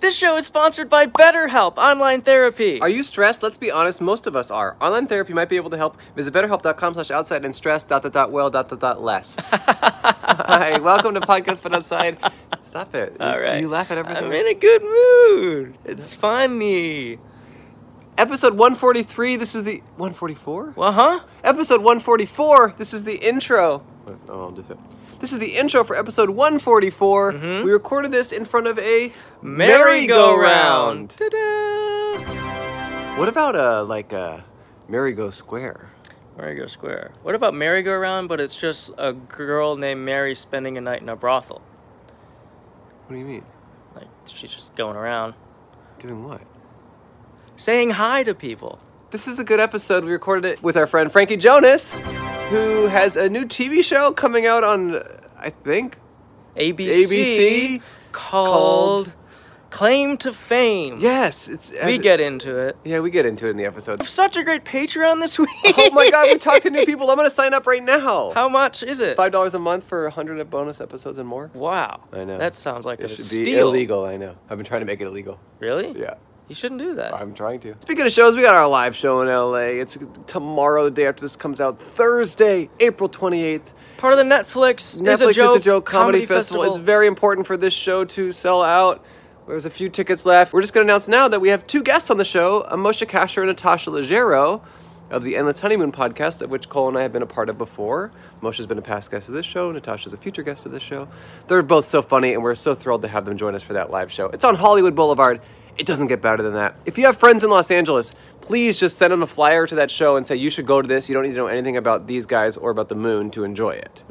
this show is sponsored by BetterHelp Online Therapy. Are you stressed? Let's be honest, most of us are. Online therapy might be able to help. Visit betterhelp.com slash outside and stress dot dot dot well dot dot dot less. Hi, welcome to Podcast But Outside. Stop it. You- All right. You laugh at everything. I'm in a good mood. It's funny. Episode 143, this is the... 144? Well, huh? Episode 144, this is the intro. Oh, I'll do that. This is the intro for episode 144. Mm-hmm. We recorded this in front of a Merry-go-round. merry-go-round. What about a like uh, a merry-go square? Merry-go square. What about merry-go-round, but it's just a girl named Mary spending a night in a brothel? What do you mean? Like, she's just going around Doing what? saying hi to people. This is a good episode. We recorded it with our friend Frankie Jonas, who has a new TV show coming out on, uh, I think, ABC, ABC called, Claim to Fame. Yes, it's uh, We get into it. Yeah, we get into it in the episode. Such a great Patreon this week. oh my god, we talked to new people. I'm gonna sign up right now. How much is it? Five dollars a month for hundred bonus episodes and more. Wow. I know. That sounds like It a should steal. be illegal. I know. I've been trying to make it illegal. Really? Yeah. You shouldn't do that. I'm trying to. Speaking of shows, we got our live show in LA. It's tomorrow, the day after this comes out, Thursday, April 28th. Part of the Netflix, Netflix is a joke, comedy, festival. It's very important for this show to sell out. There's a few tickets left. We're just going to announce now that we have two guests on the show, Amosha Kasher and Natasha Leggero of the Endless Honeymoon podcast, of which Cole and I have been a part of before. Moshe's been a past guest of this show. Natasha's a future guest of this show. They're both so funny, and we're so thrilled to have them join us for that live show. It's on Hollywood Boulevard. It doesn't get better than that. If you have friends in Los Angeles, please just send them a flyer to that show and say, you should go to this. You don't need to know anything about these guys or about the moon to enjoy it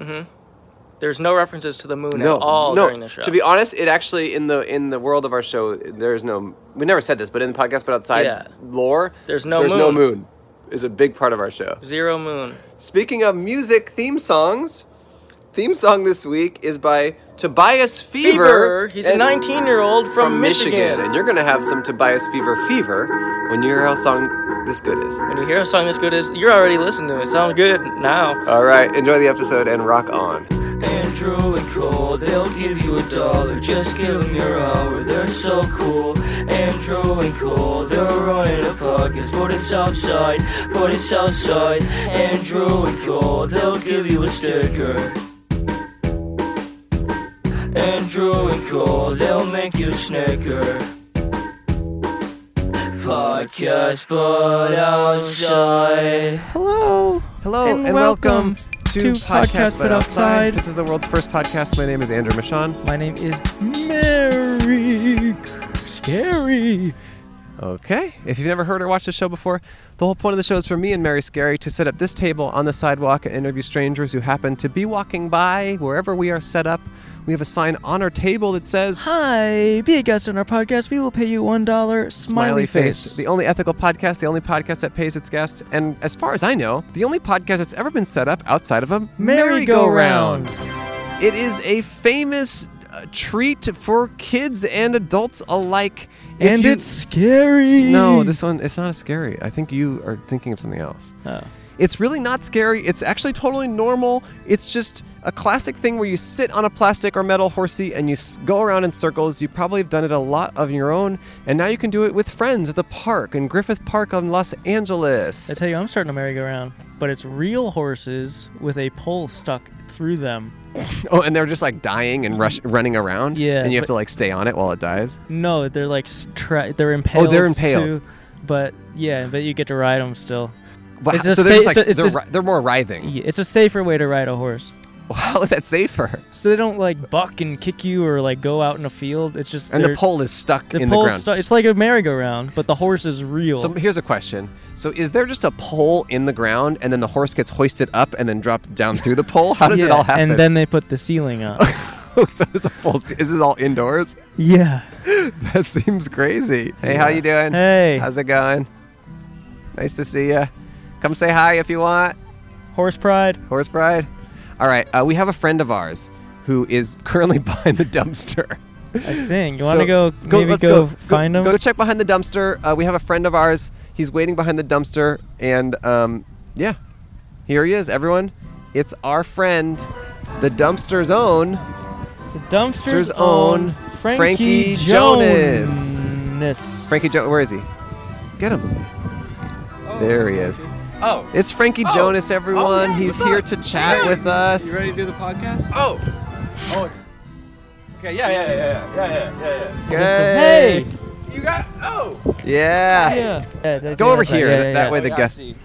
There's no references to the moon at all during the show. to be honest, it actually in the in the world of our show, there is no. We never said this, but in the podcast, but outside Yeah. lore, There's no There's no moon. moon. Is a big part of our show. Zero moon. Speaking of music theme songs, theme song this week is by Tobias Fever. Fever. He's a and- 19 year old from, Michigan. and you're gonna have some Tobias Fever fever when you hear how song this good is. When you hear a song as good as you're already listening to it, sound good now. All right, enjoy the episode and rock on. Andrew and Cole, they'll give you a dollar. Just give them your hour, they're so cool. Andrew and Cole, they're running a podcast, but it's outside, but it's outside. Andrew and Cole, they'll give you a sticker. Andrew and Cole, they'll make you a snicker. Podcast, but outside. Hello. Hello And welcome to Podcast But Outside. This is the world's first podcast. My name is Andrew Michon. My name is Mary Scary. Okay. If you've never heard or watched the show before, the whole point of the show is for me and Mary Scary to set up this table on the sidewalk and interview strangers who happen to be walking by wherever we are set up. We have a sign on our table that says Hi, be a guest on our podcast. We will pay you one dollar. Smiley, face. The only ethical podcast, the only podcast that pays its guest, and as far as I know, the only podcast that's ever been set up outside of a merry-go-round. Merry-go-round. It is a famous uh, treat for kids and adults alike. If And you- it's scary. no, this one it's not scary. I think you are thinking of something else. Oh. It's really not scary. It's actually totally normal. It's just a classic thing where you sit on a plastic or metal horsey and you s- go around in circles. You probably have done it a lot of your own, and now you can do it with friends at the park in Griffith Park on Los Angeles. I tell you, I'm starting a merry-go-round, but it's real horses with a pole stuck through them. oh, and they're just like dying and rush, running around. Yeah, and you have but- to like stay on it while it dies. No, they're like s- tra- they're impaled. Oh, impaled. Too, but yeah, but you get to ride them still. Wow, It's just so they're sa- just like it's a- it's they're, just- ri- they're more writhing. Yeah, it's a safer way to ride a horse. How is that safer? So they don't like buck and kick you or like go out in a field. It's just And the they're- pole is stuck The in the pole's ground. stu- it's like a merry-go-round, but the horse is real. So here's a question. So is there just a pole in the ground and then the horse gets hoisted up and then dropped down through the pole? How does it Yeah, all happen? And then they put the ceiling up. so there's a full is this all indoors? yeah. That seems crazy. Hey, how you doing? Hey. How's it going? Nice to see you. Come say hi if you want. Horse pride. Horse pride. All right, uh, we have a friend of ours who is currently behind the dumpster. I think. You want to So- go, maybe let's go, find go, him? Go check behind the dumpster. Uh, we have a friend of ours. He's waiting behind the dumpster, and um, yeah, here he is, everyone. It's our friend, the dumpster's own, The dumpster's Dumpster's own Frankie Frankie, Jonas. Jonas. Frankie Jonas, where is he? Get him. there he is. Oh, It's Frankie Oh. Jonas, everyone. Oh, yeah, He's what's here up? to chat Hey. with us. You ready to do the podcast? oh, oh. Okay, yeah, yeah, yeah, yeah, yeah, yeah, yeah, Hey. Hey. yeah. You got oh. Yeah. Yeah. Yeah, that- Go over that's right. here. Yeah, that yeah, that yeah. way Oh, the yeah, I guests. see.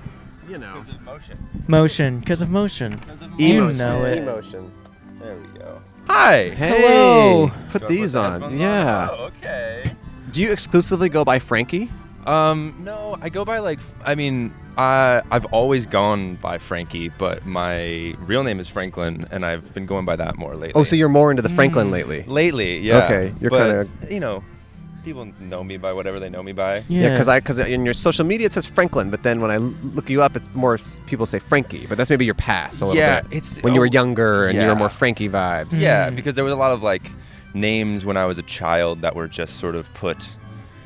You know. 'Cause of motion. Motion, because of motion. 'Cause of You motion. know it. Emotion. There we go. Hi. Hey. Hello. Put Do I these the on. headphones Yeah. Oh, okay. Do you exclusively go by Frankie? Um, no, I go by like f- I mean, I I've always gone by Frankie, but my real name is Franklin, and I've been going by that more lately. Oh, so you're more into the Franklin Mm. lately. lately, yeah. Okay, you're But, kinda- you know, people know me by whatever they know me by. Yeah, because I because in your social media it says Franklin, but then when I l- look you up, it's more s- people say Frankie, but that's maybe your past a little Yeah, bit. it's- when you oh, were younger and you were yeah. more Frankie vibes. Hmm. Yeah, because there was a lot of like names when I was a child that were just sort of put.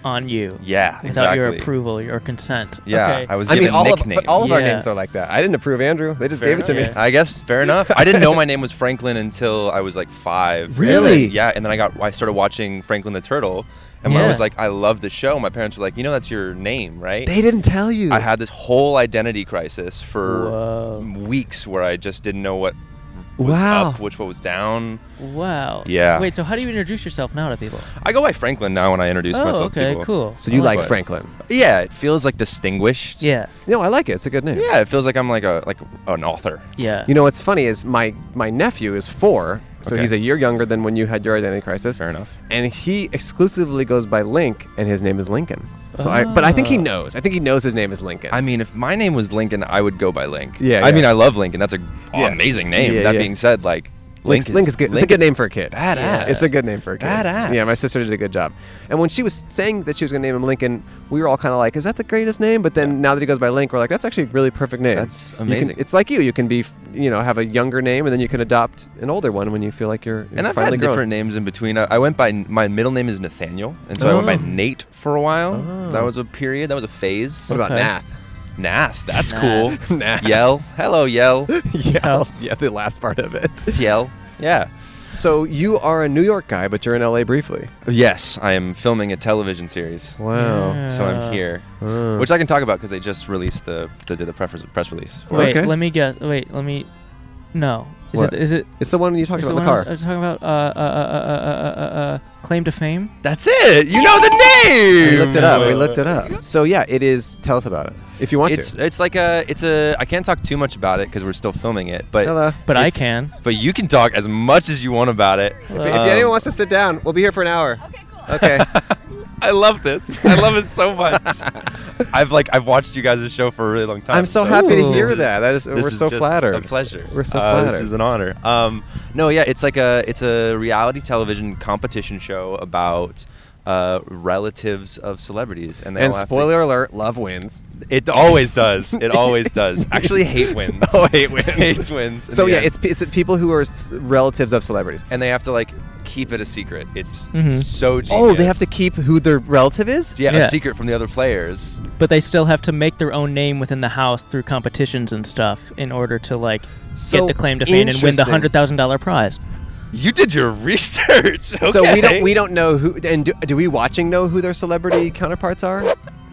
on you. Yeah, Without exactly. your approval, your consent. Yeah, Okay. I was I given mean, all of, nicknames. but all of our Yeah. names are like that. I didn't approve Andrew; they just Fair gave it to enough. me. Yeah. I guess fair enough. I didn't know my name was Franklin until I was like five. Really? And then- yeah, and then I got I started watching Franklin the Turtle, and when I Yeah. was like, I love the show. My parents were like, you know, that's your name, right? They didn't tell you. I had this whole identity crisis for Whoa. Oh. weeks where I just didn't know what was Wow. up, which what was down. Wow. Yeah. Wait, so how do you introduce yourself now to people? I go by Franklin now when I introduce oh, myself to okay, people. cool. so you like but- Franklin? Yeah, it feels like distinguished. Yeah. No, I like it. It's a good name. Yeah, it feels like I'm like a like an author. Yeah. You know what's funny is my my nephew is four, so Okay. he's a year younger than when you had your identity crisis. Fair enough. and he exclusively goes by Link, and his name is Lincoln. So I, but I think he Ah. knows. I think he knows his name is Lincoln. I mean, if my name was Lincoln, I would go by Link. Yeah, I yeah. mean, I love Lincoln. That's a Yeah. amazing name. Yeah, that yeah. being said, like Link, Link, Link is good. it's a good name for a kid. Badass. Yeah, It's a good name for a kid. Badass. Yeah, my sister did a good job. And when she was saying that she was going to name him Lincoln, we were all kind of like, "Is that the greatest name?" But then now that he goes by Link, we're like, "That's actually a really perfect name." That's You can- amazing. it's like you. You can be, f- you know, have a younger name, and then you can adopt an older one when you feel like you're. And you're I've had finally grown. different names in between. I, I went by my middle name is Nathaniel, and so I went by Oh. Nate for a while. Oh. That was a period. That was a phase. What about Okay. Nath? Nath? That's Nath. cool. Nath. Yell. Hello, Yell. yeah, yeah, the last part of it. Yell. Yeah. So you are a New York guy, but you're in LA briefly. Yes, I am filming a television series. Wow. Yeah. So I'm here, Oh. which I can talk about because they just released the they did the press press release. for it. Wait, Okay. let me guess. Wait, let me. No. Is What? it? Is it? It's the one you talked is about the in one I the was, car. I was talking about uh, uh, uh, uh, uh, uh, uh, claim to fame. That's it. You know the name. we looked it up. We Mm. looked it up. So yeah, it is. Tell us about it if you want It's to. it's like a it's a I can't talk too much about it because we're still filming it, but Hello. But I It's- can. but you can talk as much as you want about it. If, if Um, anyone wants to sit down, we'll be here for an hour. Okay, cool. Okay. I love this. I love it so much. I've like I've watched you guys' show for a really long time. I'm so so happy to Ooh. hear This is- that. That is, this we're is so just flattered. A pleasure. We're so Uh, flattered. This is an honor. Um, no, yeah, it's like a it's a reality television competition show about uh, relatives of celebrities, and they and all have to- spoiler alert, love wins. it always does. It always does. Actually, hate wins. Oh, hate wins. hate wins. in So the yeah, end. it's it's people who are s- relatives of celebrities. and they have to like keep it a secret. It's Mhm. so genius. Oh, they have to keep who their relative is. yeah, Yeah. a secret from the other players. But they still have to make their own name within the house through competitions and stuff in order to like So get the claim to fame and win the interesting. hundred thousand dollar prize. You did your research. okay. So we don't we don't know who and do, do we watching know who their celebrity counterparts are?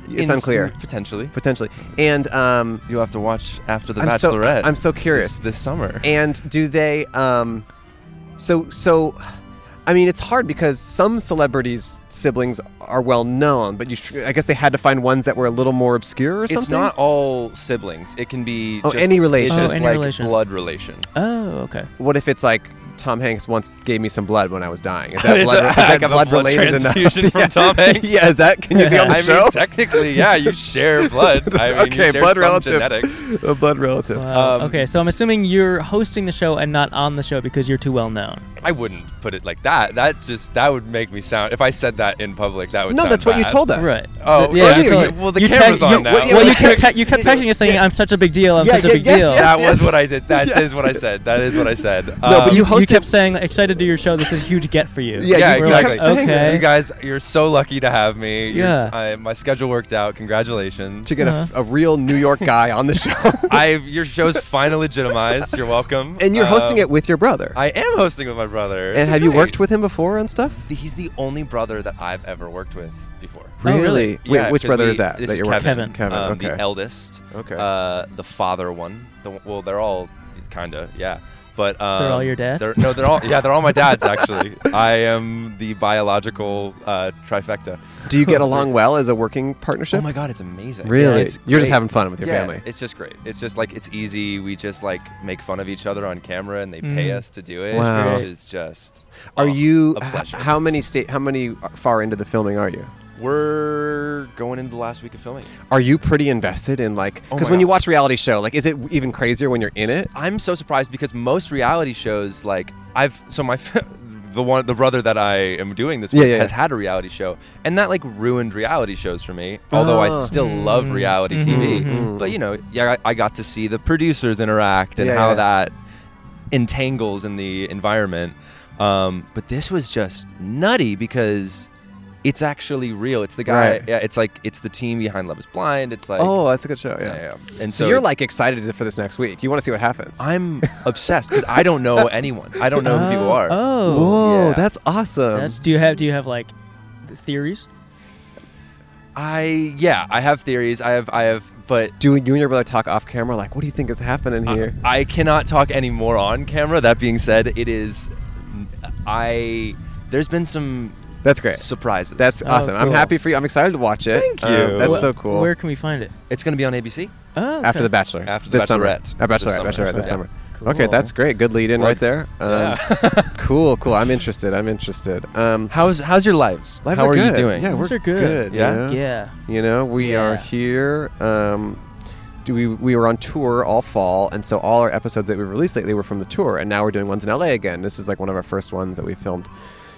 It's In- unclear Potentially, potentially. And um, you'll have to watch after the I'm so- Bachelorette. I'm so curious. this, this summer. and do they um, so so. I mean, it's hard because some celebrities' siblings are well known, but you tr- I guess they had to find ones that were a little more obscure or it's something. not all siblings. It can be Oh, just, any relation. It's Oh, just any like relation. blood relation. Oh, okay. what if it's like Tom Hanks once gave me some blood when I was dying? Is that blood, I is had that the blood blood related enough? transfusion from yeah. Tom Hanks? yeah, is that can you be on the I show? mean, technically, yeah, you share blood. I mean, okay, you share blood some relative. genetics. A blood relative. Wow. Um, okay, so I'm assuming you're hosting the show and not on the show because you're too well known. I wouldn't put it like that. That's just that would make me sound. If I said that in public, that would. no, sound that's what you bad. told us. Right. Oh, Th- yeah, earlier you totally- you- well, the you camera's te- on you- now. Well, Yeah, you, yeah, kept, yeah. te- you kept texting us saying, Yeah. "I'm such a big deal. Um, I'm Yeah, such a yeah, big yes, deal." yes. That was what I did. That is what I said. That is what I said. No, but Um, you hosted kept saying, "Excited to your show. This is a huge get for you." Yeah, And you we're exactly. Like, okay. You guys, you're so lucky to have me. You're Yeah. s- I, my schedule worked out. Congratulations. to get a, f- a real New York guy on the show. I your show's finally legitimized. You're welcome. and you're hosting Um, it with your brother. I am hosting with my brother. and It's have you great. worked with him before on stuff? The- He's the only brother that I've ever worked with before. Really? Wait, Yeah, which 'cause brother we- is that? This that is you're working- Kevin. Kevin. um, okay. the eldest. Okay. Uh, the father one. The, one- well, they're all kind of yeah, but um, They're all your dad? they're- no, they're all yeah, they're all my dads actually. I am the biological uh, trifecta. Do you get along well as a working partnership? Oh my god, it's amazing. Really? It's You're just great. having fun with your Yeah, family. It's just great. It's just like it's easy. We just like make fun of each other on camera, and they pay Mm. us to do it, Wow. which is just. Are oh, you? a h- pleasure. how many state? How many far into the filming are you? We're going into the last week of filming. Are you pretty invested in like? Oh Because my when you God. watch reality show, like, is it even crazier when you're in it? I'm so surprised because most reality shows, like I've so my the one the brother that I am doing this Yeah, with yeah, has yeah. had a reality show, and that like ruined reality shows for me. Although I Oh. still love reality TV, but you know, yeah, I, I got to see the producers interact and Yeah, how yeah. that entangles in the environment. Um, but this was just nutty because. It's actually real. It's the guy. Right. Yeah, it's like it's the team behind Love Is Blind. It's like oh, that's a good show. Yeah. yeah, yeah. And So, you're it's- like excited for this next week. You want to see what happens. I'm obsessed because I don't know anyone. I don't know who people are. Oh. Whoa, yeah. that's awesome. That's- do you have do you have like th- theories? I yeah, I have theories. I have I have, but do you and your brother talk off camera? Like, what do you think is happening here? I cannot talk any more on camera. That being said, it is I. There's been some that's great. surprises. Uh, that's awesome. I'm Oh, cool. happy for you. I'm excited to watch it. Thank Um, you. that's Wh- so cool. Where can we find it? it's going to be on ABC. Oh, okay. After the Bachelor. After the this summer. Bachelorette. Uh, This Bachelorette. summer. Bachelorette this Yeah. summer. Okay, that's great. Good lead in right there. Um, cool, cool. I'm interested. I'm interested. Um, How's how's your lives? lives How are, you good. doing? Yeah, Things we're are good. good. Yeah? You know? Yeah. You know, we are Yeah. here. Um, do we we were on tour all fall, and so all our episodes that we released lately were from the tour, and now we're doing ones in LA again. This is like one of our first ones that we filmed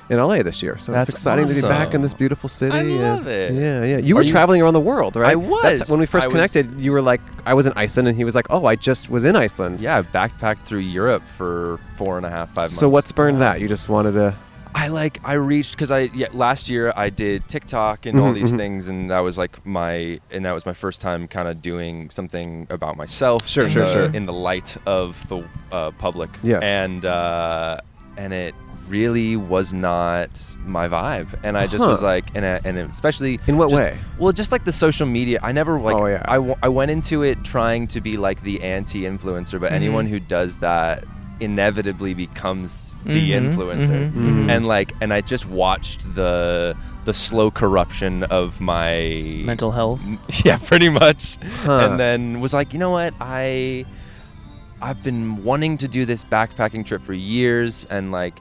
in LA this year. So That's it's exciting to be back in awesome. this beautiful city. I and- love it. Yeah, yeah. You Are were you- traveling around the world, right? I That's- was. when we first I was- connected, you were like, I was in Iceland, and he was like, Oh, I just was in Iceland. Yeah, I backpacked through Europe for four and a half, five months. So what spurned that? You just wanted to. I like I reached because I yeah, last year I did TikTok and all Mm-hmm, these things and that was like my and that was my first time kind of doing something about myself. Sure, in sure, the- sure. In the light of the uh, public. Yes. And uh, and it really was not my vibe, and I just Huh. was like, and I, and especially Uh-huh. In what just- way? Well, just like the social media. I never like. Oh, yeah. I, w- I went into it trying to be like the anti-influencer, Mm-hmm. but anyone who does that inevitably becomes the Mhm, influencer Mm-hmm. and like and I just watched the the slow corruption of my Mental health. yeah pretty much Huh. and then was like you know what I I've been wanting to do this backpacking trip for years and like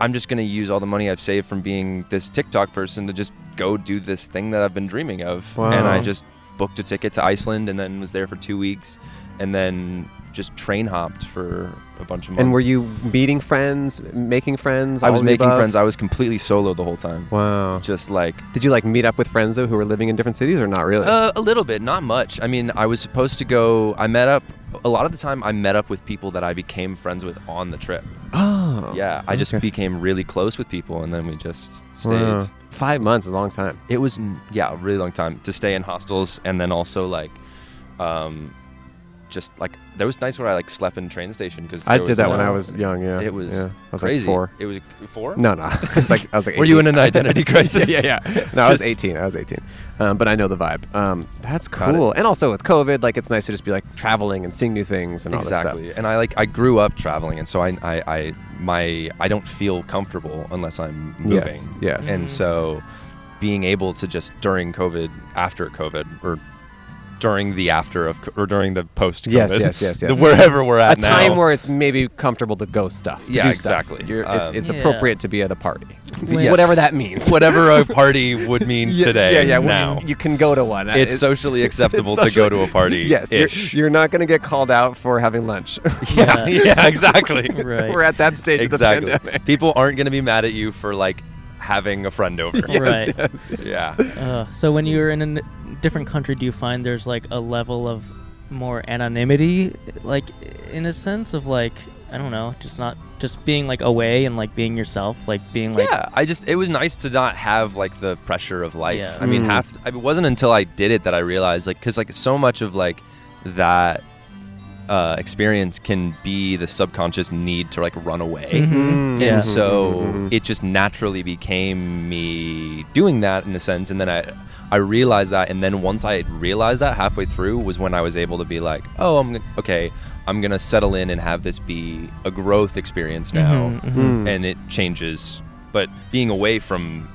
I'm just gonna use all the money I've saved from being this TikTok person to just go do this thing that I've been dreaming of Wow. and I just booked a ticket to Iceland and then was there for two weeks and then just train hopped for a bunch of months And were you meeting friends, making friends? I all was of the making above? friends I was completely solo the whole time Wow. just like Did you like meet up with friends though who were living in different cities or not really? Uh, a little bit, not much. I mean, I was supposed to go. I met up. A lot of the time, I met up with people that I became friends with on the trip. oh. yeah, I just okay. became really close with people, and then we just stayed. Wow. Five months is a long time. It was n- yeah, a really long time to stay in hostels, and then also like, um, just like there was nights where I like slept in train station because I did that when I was young. Yeah, It was Yeah. I was crazy. like four. It was four. No, no. It's like I was like. Were you 18. in an identity crisis? yeah, yeah, yeah. No, I was Just- 18. I was 18. Um, but I know the vibe. Um, that's Got it. cool. And also with COVID, like it's nice to just be like traveling and seeing new things and all exactly this stuff. and i like i grew up traveling and so i i, I my i don't feel comfortable unless i'm moving Yes, yes. and so being able to just during covid after covid or during the after of co- or during the post covid Yes, yes, yes, yes. wherever we're A at now time where it's maybe comfortable to go stuff. to Yeah, do stuff. exactly. You're, it's Um, it's Yeah. appropriate to be at a party, Yes. whatever that means. whatever a party would mean Yeah, today Yeah, yeah. well, now you can go to one. it's socially acceptable to go socially- to a party Yes, you're, ish. you're not going to get called out for having lunch. yeah, Yeah. yeah exactly Right. We're at that stage of exactly the pandemic. people aren't going to be mad at you for like having a friend over Right. yeah Uh, so when you're in a n- different country, do you find there's like a level of more anonymity, like in a sense of like I don't know, just not just being like away and like being yourself, like being like yeah, I just it was nice to not have like the pressure of life. Yeah. I mean, Mm. half I- it wasn't until I did it that I realized like because like so much of like that uh, experience can be the subconscious need to like run away. Mm. Mm-hmm. Yeah. And so Mhm. it just naturally became me doing that in a sense. And then I, I realized that. And then once I realized that halfway through was when I was able to be like, oh, I'm gonna- okay. I'm gonna settle in and have this be a growth experience now, Mhm, mhm. and it changes. But being away from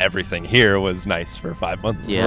everything here was nice for five months. Yeah.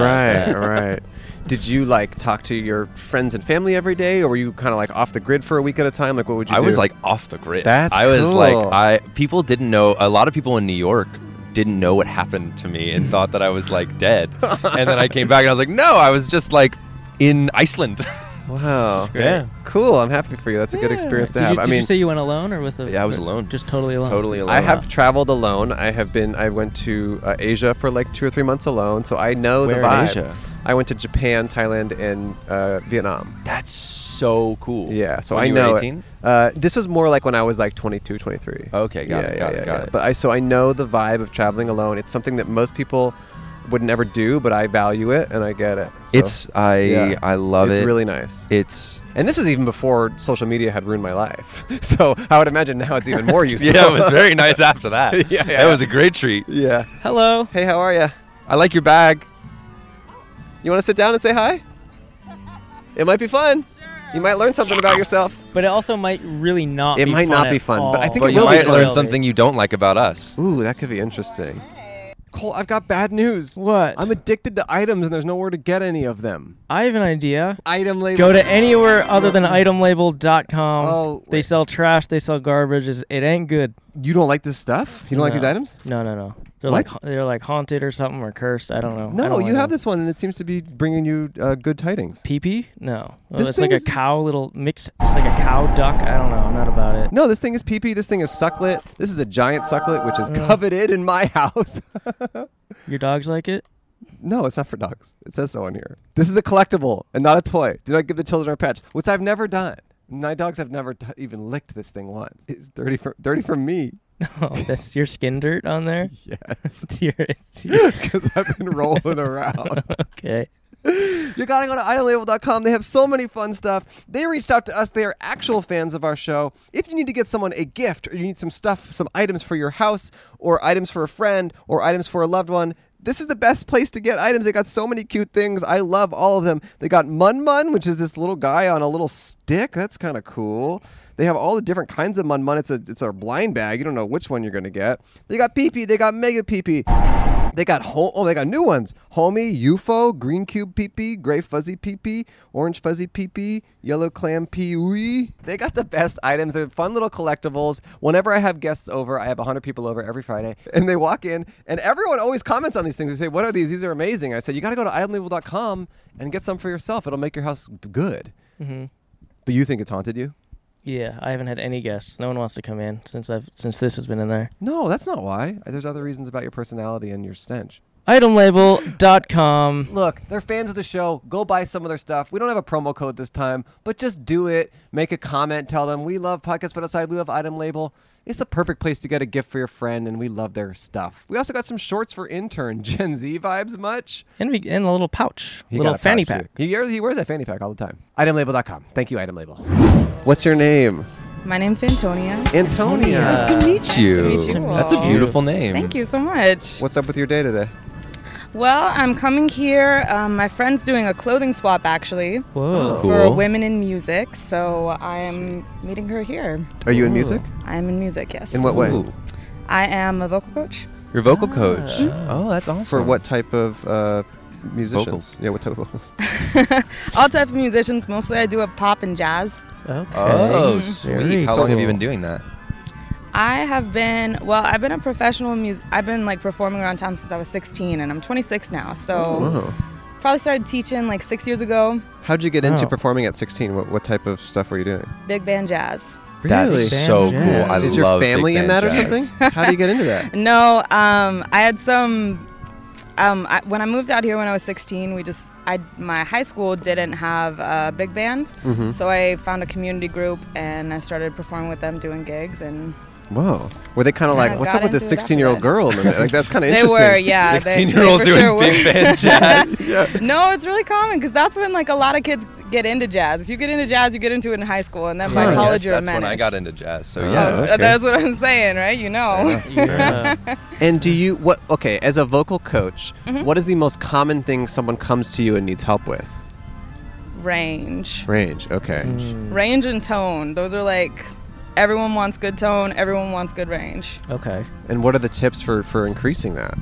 Right, right. Did you like talk to your friends and family every day, or were you kind of like off the grid for a week at a time? Like, what would you? I do? was like off the grid. That's I was cool. like I people didn't know a lot of people in New York didn't know what happened to me and thought that I was like dead. and then I came back and I was like, no, I was just like in Iceland. wow, great. Yeah. cool. I'm happy for you. That's a good Yeah. experience to Did have. You, I did mean, you say you went alone or with a? Yeah, I was or- alone. Just totally alone. totally alone. I have traveled alone. I have been. I went to uh, Asia for like two or three months alone, so I know the Where in vibe. Asia? I went to Japan, Thailand, and uh, Vietnam. That's so cool. Yeah, so When I you were know. it. 18? Uh, this was more like when I was like 22, 23. Okay, got it, got it, got it. But I so I know the vibe of traveling alone. It's something that most people would never do, but I value it and I get it. So, It's I yeah. I love it's it. really nice. It's and this is even before social media had ruined my life. So I would imagine now it's even more useful. yeah, it was very nice after that. Yeah, yeah. That was a great treat. yeah. Hello. Hey, how are you? I like your bag. You want to sit down and say hi? It might be fun. You might learn something about yourself. But it also might really not. It be might fun not at be fun, but I all. think But it you will be might fun. learn something you don't like about us. Ooh, that could be interesting. Cole, I've got bad news. What? I'm addicted to items and there's nowhere to get any of them. I have an idea. Item label. Go to anywhere other than itemlabel.com. Oh, they wait. sell trash. They sell garbage. It's, it ain't good. You don't like this stuff? You don't like No. these items? No, no, no. They're What? like they're like haunted or something or cursed. I don't know. I No, don't you like have them. this one and it seems to be bringing you uh, good tidings. pee pee. No, Oh, This it's like thing a is- cow little mixed. It's like a cow duck. I don't know. I'm not about it. No, this thing is pee pee. This thing is sucklet. This is a giant sucklet, which is coveted in my house. Mm. Your dogs like it. no, it's not for dogs. It says so on here. This is a collectible and not a toy. Do not give the children or pets, which I've never done. My dogs have never t- even licked this thing once. It's dirty for dirty for me. Oh, that's your skin dirt on there. Yes, It's your, it's your- because I've been rolling around. okay. You gotta go to idolabel.com. They have so many fun stuff. They reached out to us. They are actual fans of our show. If you need to get someone a gift, or you need some stuff, some items for your house, or items for a friend, or items for a loved one, this is the best place to get items. They got so many cute things. I love all of them. They got Mun Mun, which is this little guy on a little stick. That's kind of cool. They have all the different kinds of Mun Mun. It's a it's a blind bag. You don't know which one you're gonna get. They got Pee Pee. They got Mega Pee Pee. They got home. Oh, they got new ones: homie, UFO, green cube peepee, gray fuzzy peepee, orange fuzzy peepee, yellow clam peewee. They got the best items. They're fun little collectibles. Whenever I have guests over, I have 100 people over every Friday, and they walk in, and everyone always comments on these things. They say, "What are these? These are amazing." I said, "You got to go to idlemlabel.com and get some for yourself. It'll make your house good." Mhm. But you think it's haunted you? Yeah, I haven't had any guests. No one wants to come in since I've since this has been in there. No, that's not why. There's other reasons about your personality and your stench. Itemlabel.com. Look, they're fans of the show. Go buy some of their stuff. We don't have a promo code this time, but just do it. Make a comment. Tell them we love Podcast But Outside. We love Item Label. It's the perfect place to get a gift for your friend, and we love their stuff. We also got some shorts for intern Gen Z vibes. Much And we and a little pouch. He little got a fanny pouch, pack. too. He, wears- he wears that fanny pack all the time. Itemlabel.com. Thank you, Item Label. What's your name? My name's Antonia. Antonia. Nice to meet Nice you. to meet you That's a all. beautiful name. Thank you so much. What's up with your day today? Well, I'm coming here. Um, my friend's doing a clothing swap actually Whoa. for Cool. women in music, so I am meeting her here. Are you in music? I am in music, yes. In what way? Ooh, I am a vocal coach. your vocal coach. Oh, that's awesome. Ah. For what type of uh, musicians? Vocals. Yeah, what type of vocals? All types of musicians. Mostly, I do a pop and jazz. Okay. Oh, Very sweet. How long have you cool. been doing that? I have been well. I've been a professional music. I've been like performing around town since I was 16, and I'm 26 now. So Wow. probably started teaching like six years ago. How'd you get into Oh. Wow. performing at 16? What, what type of stuff were you doing? Big band jazz. That's so cool. Banjo. I Is love your family big in band that jazz. or something? How do you get into that? No, um, I had some um, I, when I moved out here when I was 16, we just I my high school didn't have a big band, Mm-hmm. so I found a community group and I started performing with them, doing gigs, and Whoa. Were they kind of Kinda like, what's got up with this into it after 16 year old that. girl? in the mi-" Like, that's kind of they interesting. were yeah, they- they 16 year old for doing sure were. big band jazz. No, it's really common because that's when like a lot of kids get into jazz. If you get into jazz, you get into it in high school, and then by Huh. college Yes, you're a that's menace. when I got into jazz. So Oh, yeah, That's- okay. uh, That's what I'm saying, right? You know. Yeah. And do you, what, okay, as a vocal coach, what is the most common thing someone comes to you and needs help with? range Range, okay. Hmm. Mm. range and tone those are like everyone wants good tone everyone wants good range okay. And what are the tips for, for increasing that?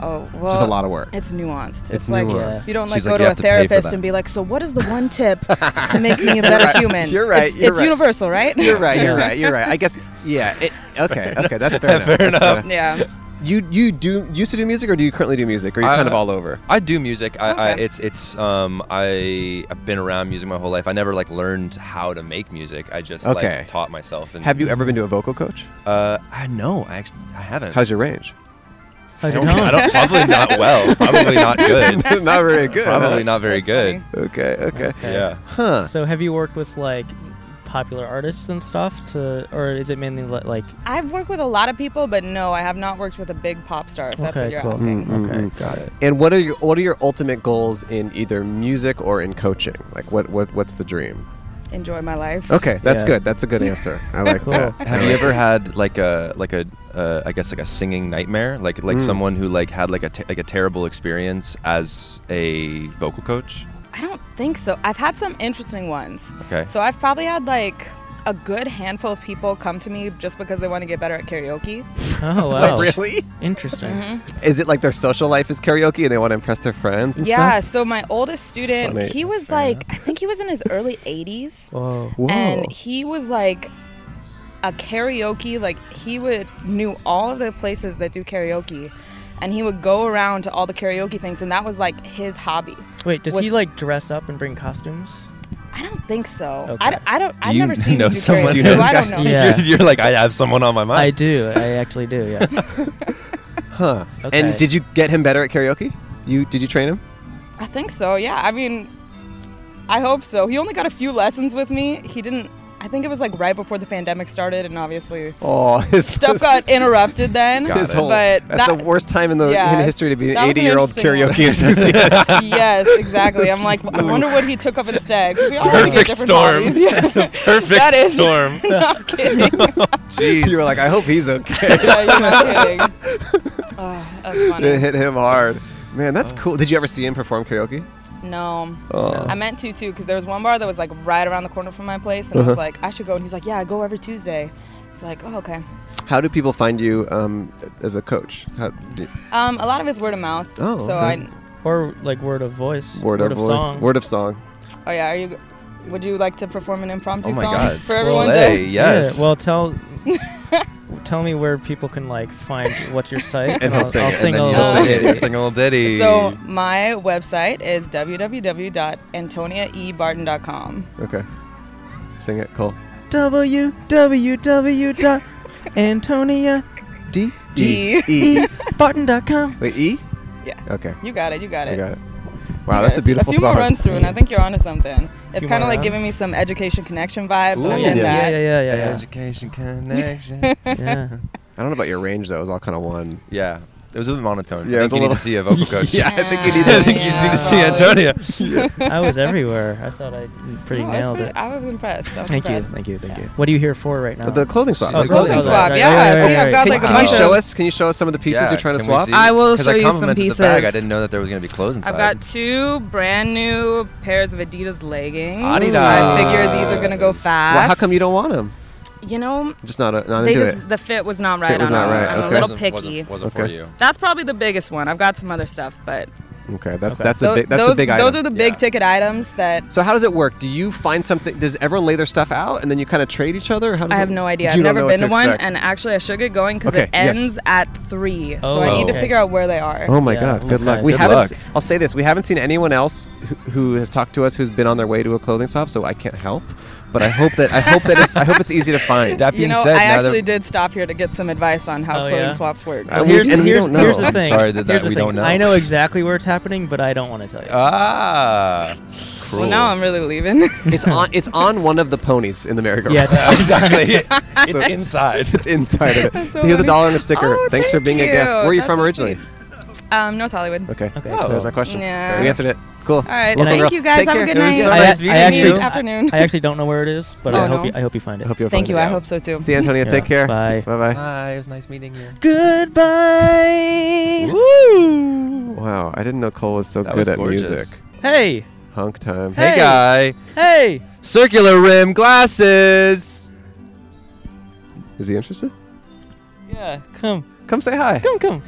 oh well Just a lot of work. it's nuanced it's, It's like nuanced. you don't like She's go like, to "You a have to pay for therapist that." and be like so what is the one tip to make me a better human You're right, it's, you're it's right. universal right You're right, you're right, you're right. I guess, yeah, it, okay, okay, that's fair enough. Fair enough. yeah You, you do, used to do music or do you currently do music? Or are you kind Uh, of all over? I do music. I, I Okay. it's it's um I I've been around music my whole life. I never like learned how to make music. I just Okay. like taught myself. And, Have you ever been to a vocal coach? Uh, I no, I actually I haven't. How's your range? How's I your don't, I tone? don't- probably not well. Probably not good. Not very good. huh? Probably not very That's good. Okay, okay. Okay. Yeah. Huh. So have you worked with like popular artists and stuff to, or is it mainly li- like i've worked with a lot of people but no i have not worked with a big pop star if that's Okay, what you're cool. asking okay, Mm, got it. And what are your what are your ultimate goals in either music or in coaching? Like what what what's the dream? enjoy my life Okay, that's Yeah. good. That's a good answer. I like Cool. that. Have you ever had like a like a uh, I guess like a singing nightmare? Like Hmm. like someone who like had like a te- like a terrible experience as a vocal coach? I don't think so. I've had some interesting ones. Okay. So I've probably had like a good handful of people come to me just because they want to get better at karaoke. oh wow Really? interesting Is it like their social life is karaoke and they want to impress their friends and yeah. stuff? So my oldest student, funny. he was like, I think he was in his early 80s, whoa Whoa. and he was like a karaoke. Like he would knew all of the places that do karaoke. And he would go around to all the karaoke things, and that was like his hobby. wait does With- he like dress up and bring costumes I don't think so. Okay. I, d- I don't. Do I've you never seen know him do someone karaoke, who knows so I that? don't know. Yeah. you're, you're like I have someone on my I mind. do I actually do yeah huh. Okay. And did you get him better at karaoke? You did you train him? I think so. Yeah. I mean, I hope so. He only got a few lessons with me. He didn't. I think it was like right before the pandemic started, and obviously Oh, his stuff got interrupted then. Got his it. whole. But that's that- the worst time in the yeah, in history to be that an was an 80 year old interesting one. karaoke enthusiast. yes, exactly. I'm like, I wonder what he took up instead. 'cause We all had to get Perfect different storm. hobbies. Yeah. Perfect That is- storm. not kidding. you were like, I hope he's okay. Yeah, you're not kidding. Oh, that's it funny. hit him hard. Man, that's cool. Did you ever see him perform karaoke? No. Oh. I meant to too, because there was one bar that was like right around the corner from my place, and I Uh-huh. was like, I should go. And he's like, Yeah, I go every Tuesday. He's like, Oh, okay. How do people find you um, as a coach? How, Um, a lot of it's word of mouth. Oh, so okay. I, or like word of voice word, of, voice, song word of song. Oh yeah, are you? Would you like to perform an impromptu Oh my song God. for everyone? Slay. To, Yes. well tell tell me where people can like find what's your site And he'll I'll, sing I'll it, and sing then a you little sing it. Sing a little ditty. so my website is e www.antoniaebarton.com. Okay. Sing it, Cole. www.antoniabarton.com D E. E. Wait, E? Yeah. Okay, You got it. You got I it. got it. Wow, that's a beautiful A few song. more runs through, and I think you're onto something. It's Few kind more of like runs. giving me some education connection vibes, and I Ooh. get yeah yeah that. yeah yeah Education connection. yeah, yeah. I don't know about your range though. It was all kind of one. yeah. It was a bit monotone. Yeah, I it think was a you little- need to see a vocal coach. Yeah, I think you need Yeah, to. I think you just need to see solid. Antonia. I was everywhere I thought I pretty No, that's nailed pretty- it I was impressed. I was thank you impressed. thank you thank you what are you here for right now The clothing swap. Oh, The Clothing clothes. swap, Right, yeah. right, right, See, I've right, got right. Can, like a can you bunch show of- us? Can you show us some of the pieces Yeah, you're trying to can we swap? see? I will 'Cause show you some complimented the bag. I pieces. didn't know that there was going to be clothes inside. I've got two brand new pairs of Adidas leggings. Adidas. I figure these are gonna go fast. Well, how come you don't want them? You know, Just not a, not they into just it. the fit was not right was on not them. right, I'm okay. a little Wasn't- picky. Wasn't, wasn't for Okay. you. That's probably the biggest one. I've got some other stuff, but Okay, that's that's a tho- big that's those a big those item. are the big Yeah. ticket items that So how does it work? Do you find something? Does everyone lay their stuff out and then you kind of trade each other? How does I it- have no idea. You I've don't know never what been to one, expect. and actually I should get going because Okay, it yes. ends at three. so Oh. I need to Okay. figure out where they are. Oh my Yeah. God! Good Okay. luck. We Good haven't. luck. se- I'll say this: we haven't seen anyone else who, who has talked to us who's been on their way to a clothing swap, so I can't help. But I hope that I hope that it's I hope it's easy to find. That being You know, said, I now that- actually did stop here to get some advice on how Oh, clothing yeah? swaps work. I- So we- here's, and we here's, don't know. here's the I'm thing. sorry that- Here's the that we don't thing. know. Uh, I know exactly where it's happening, but I don't want to tell you. ah, cruel. well, now I'm really leaving. It's on it's on one of the ponies in the merry-go-round. yeah, it's- exactly. it's inside. It's inside of it. That's so Here's a funny. dollar and a sticker. Oh, Thanks for thank being a guest. you. Where are you That's from so originally? um, North Hollywood. Okay. Okay. That was my question. Oh. Yeah. We answered it. Cool. All right. Well, thank girl, you guys. take Have a care. good It was night. so I, nice I meeting actually, you. Afternoon. I actually don't know where it is, but Oh, I hope no. you, I hope you find it. I hope you'll Thank find you. it I out. hope so too. See you, Antonio. Take care. Bye. Bye bye. Hi, it was nice meeting you. Goodbye. Woo. Wow, I didn't know Cole was so That good was at gorgeous. music. Hey. Honk time. Hey, Hey. guy. Hey. Circular rim glasses. Is he interested? Yeah. Come. Come say hi. Come. Come.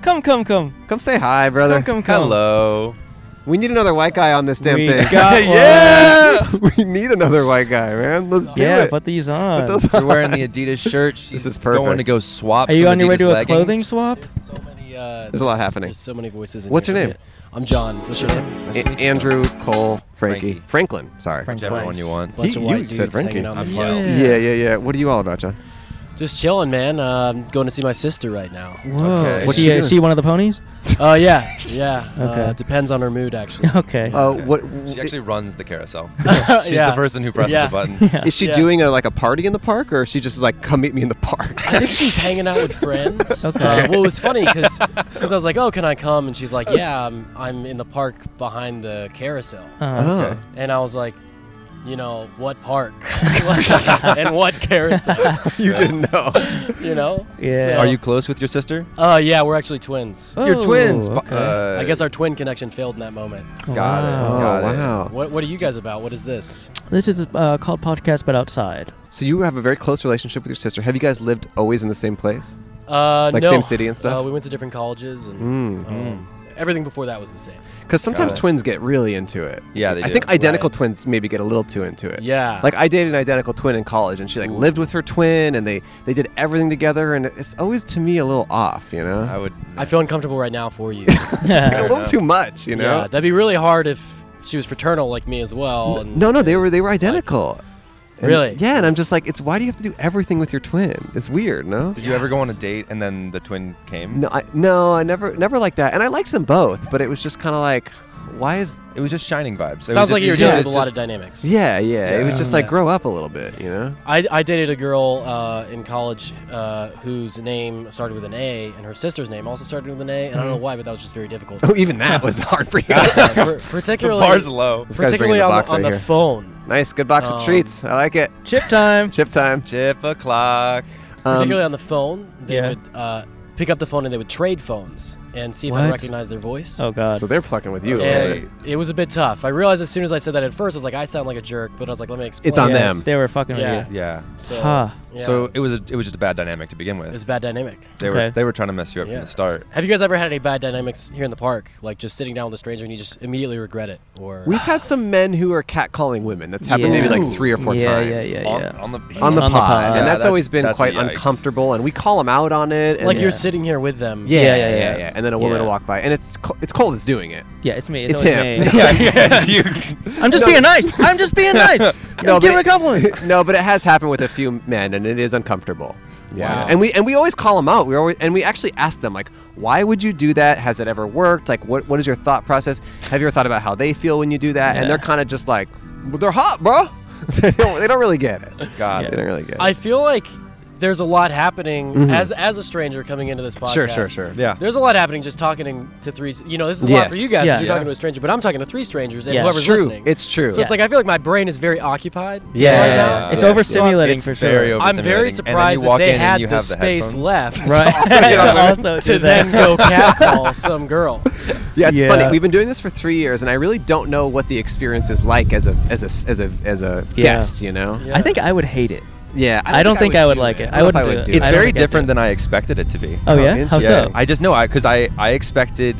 Come. Come. Come. Come say hi, brother. Come. Come. Come. Hello. We need another white guy on this damn We thing. got one. yeah. we need another white guy, man. Let's do Yeah. it. Put these on. those You're wearing the Adidas shirt. She's is Going perfect. to go swap. Are you some on your way Adidas to a leggings. Uh, clothing swap? There's so many. Uh, There's a lot happening. There's so many voices. In What's here. your name? I'm John. What's your name? Nice A- to meet you. Andrew, Cole, Frankie. Frankie. Franklin. Sorry. Frank Whichever one Price. you want. Bunch He- of white you dudes said Frankie. hanging out in the Yeah. pile. Yeah, yeah, yeah. What are you all about, John? Just chilling, man. Uh, I'm going to see my sister right now. Whoa. Okay. Is What's she she, uh, doing? is she one of the ponies? Oh yeah, yeah. Okay. Uh, depends on her mood, actually. Okay. Uh, Okay. what She actually runs the carousel. She's Yeah. the person who presses Yeah. the button. is she yeah. doing? A, like a party in the park, or is she just like come meet me in the park? I think she's hanging out with friends. Okay. Uh, well, it was funny because I was like, "Oh, can I come?" And she's like, "Yeah, I'm, I'm in the park behind the carousel." Uh, Oh. And I was like, "You know what park and what carousel? you didn't know. You know?" Yeah. So- Are you close with your sister? Uh, yeah, we're actually twins. oh, You're twins. bu- Okay. Uh, I guess our twin connection failed in that moment. Got it. Oh, Got it. wow. What What are you guys about? What is this? This is uh, called podcast, but outside. So you have a very close relationship with your sister. Have you guys lived always in the same place? Uh, Like no. same city and stuff? Uh, we went to different colleges and Mm. um, everything before that was the same. Because sometimes it. twins get really into it. Yeah, they I do. think identical Right. twins maybe get a little too into it. Yeah. Like I dated an identical twin in college, and she like lived with her twin, and they they did everything together, and it's always to me a little off, you know. I would. I feel uncomfortable right now for you. Like, a Yeah. little too much, you know. Yeah, that'd be really hard if she was fraternal like me as well. and- no, no, they were they were identical. And- Really? Yeah, and I'm just like, it's why do you have to do everything with your twin? It's weird, no? Did you ever go on a date and then the twin came? No, I no, I never never liked that, and I liked them both, but it was just kind of like, why is? It was just shining vibes. It was Sounds just- like you were yeah, dealing it's with a lot just- of dynamics. Yeah, yeah, it was Yeah. just like Yeah. grow up a little bit, you know. I, I dated a girl uh, in college uh, whose name started with an A, and her sister's name also started with an A, and I don't Mm-hmm. know why, but that was just very difficult. Oh, even that was hard for you. Uh, per- The particularly bar's low. guy's bringing particularly the on, box the, on right the here. phone. nice, good box of Um, treats. I like it. Chip time. Chip time. Chip o'clock. Um, particularly on the phone, they yeah. would uh, pick up the phone and they would trade phones and see if I What? recognized their voice. Oh God. so they're plucking with you. a little bit. And it was a bit tough. I realized as soon as I said that at first, I was like, I sound like a jerk, but I was like, let me explain. It's on this. them. They were fucking Yeah. with you. Yeah. So, Huh. yeah, So it was a, it was just a bad dynamic to begin it was with. a bad dynamic. They were Okay. they were trying to mess you up Yeah. from the start. Have you guys ever had any bad dynamics here in the park? Like just sitting down with a stranger and you just immediately regret it? Or We've had some men who are catcalling women. That's happened Yeah. maybe like three or four Yeah, yeah, times. yeah, On, yeah. on the Ah, On the On the pod. pod. And Yeah, that's, that's- always been that's a quite yikes. uncomfortable. And we call them out on it. And like yeah. you're sitting here with them. Yeah, yeah, Yeah, yeah, yeah, yeah, yeah. And then a woman Yeah. will walk by, and it's Col- it's Cole that's doing it. Yeah, it's me. It's, It's always him. me. yeah, yes, you. I'm just being nice. I'm just being nice. No, I'm but giving it- a compliment. no, but it has happened with a few men, and it is uncomfortable. Yeah, Wow. and we and we always call them out. We always and we actually ask them like, why would you do that? Has it ever worked? Like, what what is your thought process? Have you ever thought about how they feel when you do that? And Yeah. they're kind of just like, "Well, they're hot, bro. they, don't, they don't really get it. God. Yeah. They don't really get it. I feel like there's a lot happening as as a stranger coming into this podcast. Mm-hmm. sure, sure, sure. Yeah. There's a lot happening just talking in- to three. You know, this is a lot Yes. for you guys. Yeah. 'cause You're Yeah. talking to a stranger, but I'm talking to three strangers and Yeah. whoever's It's true. listening. It's true. so it's like I feel like my brain is very occupied. Yeah. Right Yeah. now. It's Yeah. overstimulating It's for sure. very I'm very overstimulating. And then you surprised that walk in they and had you the, have space headphones. left Right. on to women. also to do then that. go catcall some girl. Yeah, it's Yeah. funny. We've been doing this for three years, and I really don't know what the experience is like as a as a as a as a Yeah. guest. You know? Yeah. I think I would hate it. Yeah. I don't think I would do like it. it. I I don't know if wouldn't I would do do it. it. It's I don't very think I'd do different it. than I expected it to be. Oh yeah? interesting. How Yeah, so? I just know I because I I expected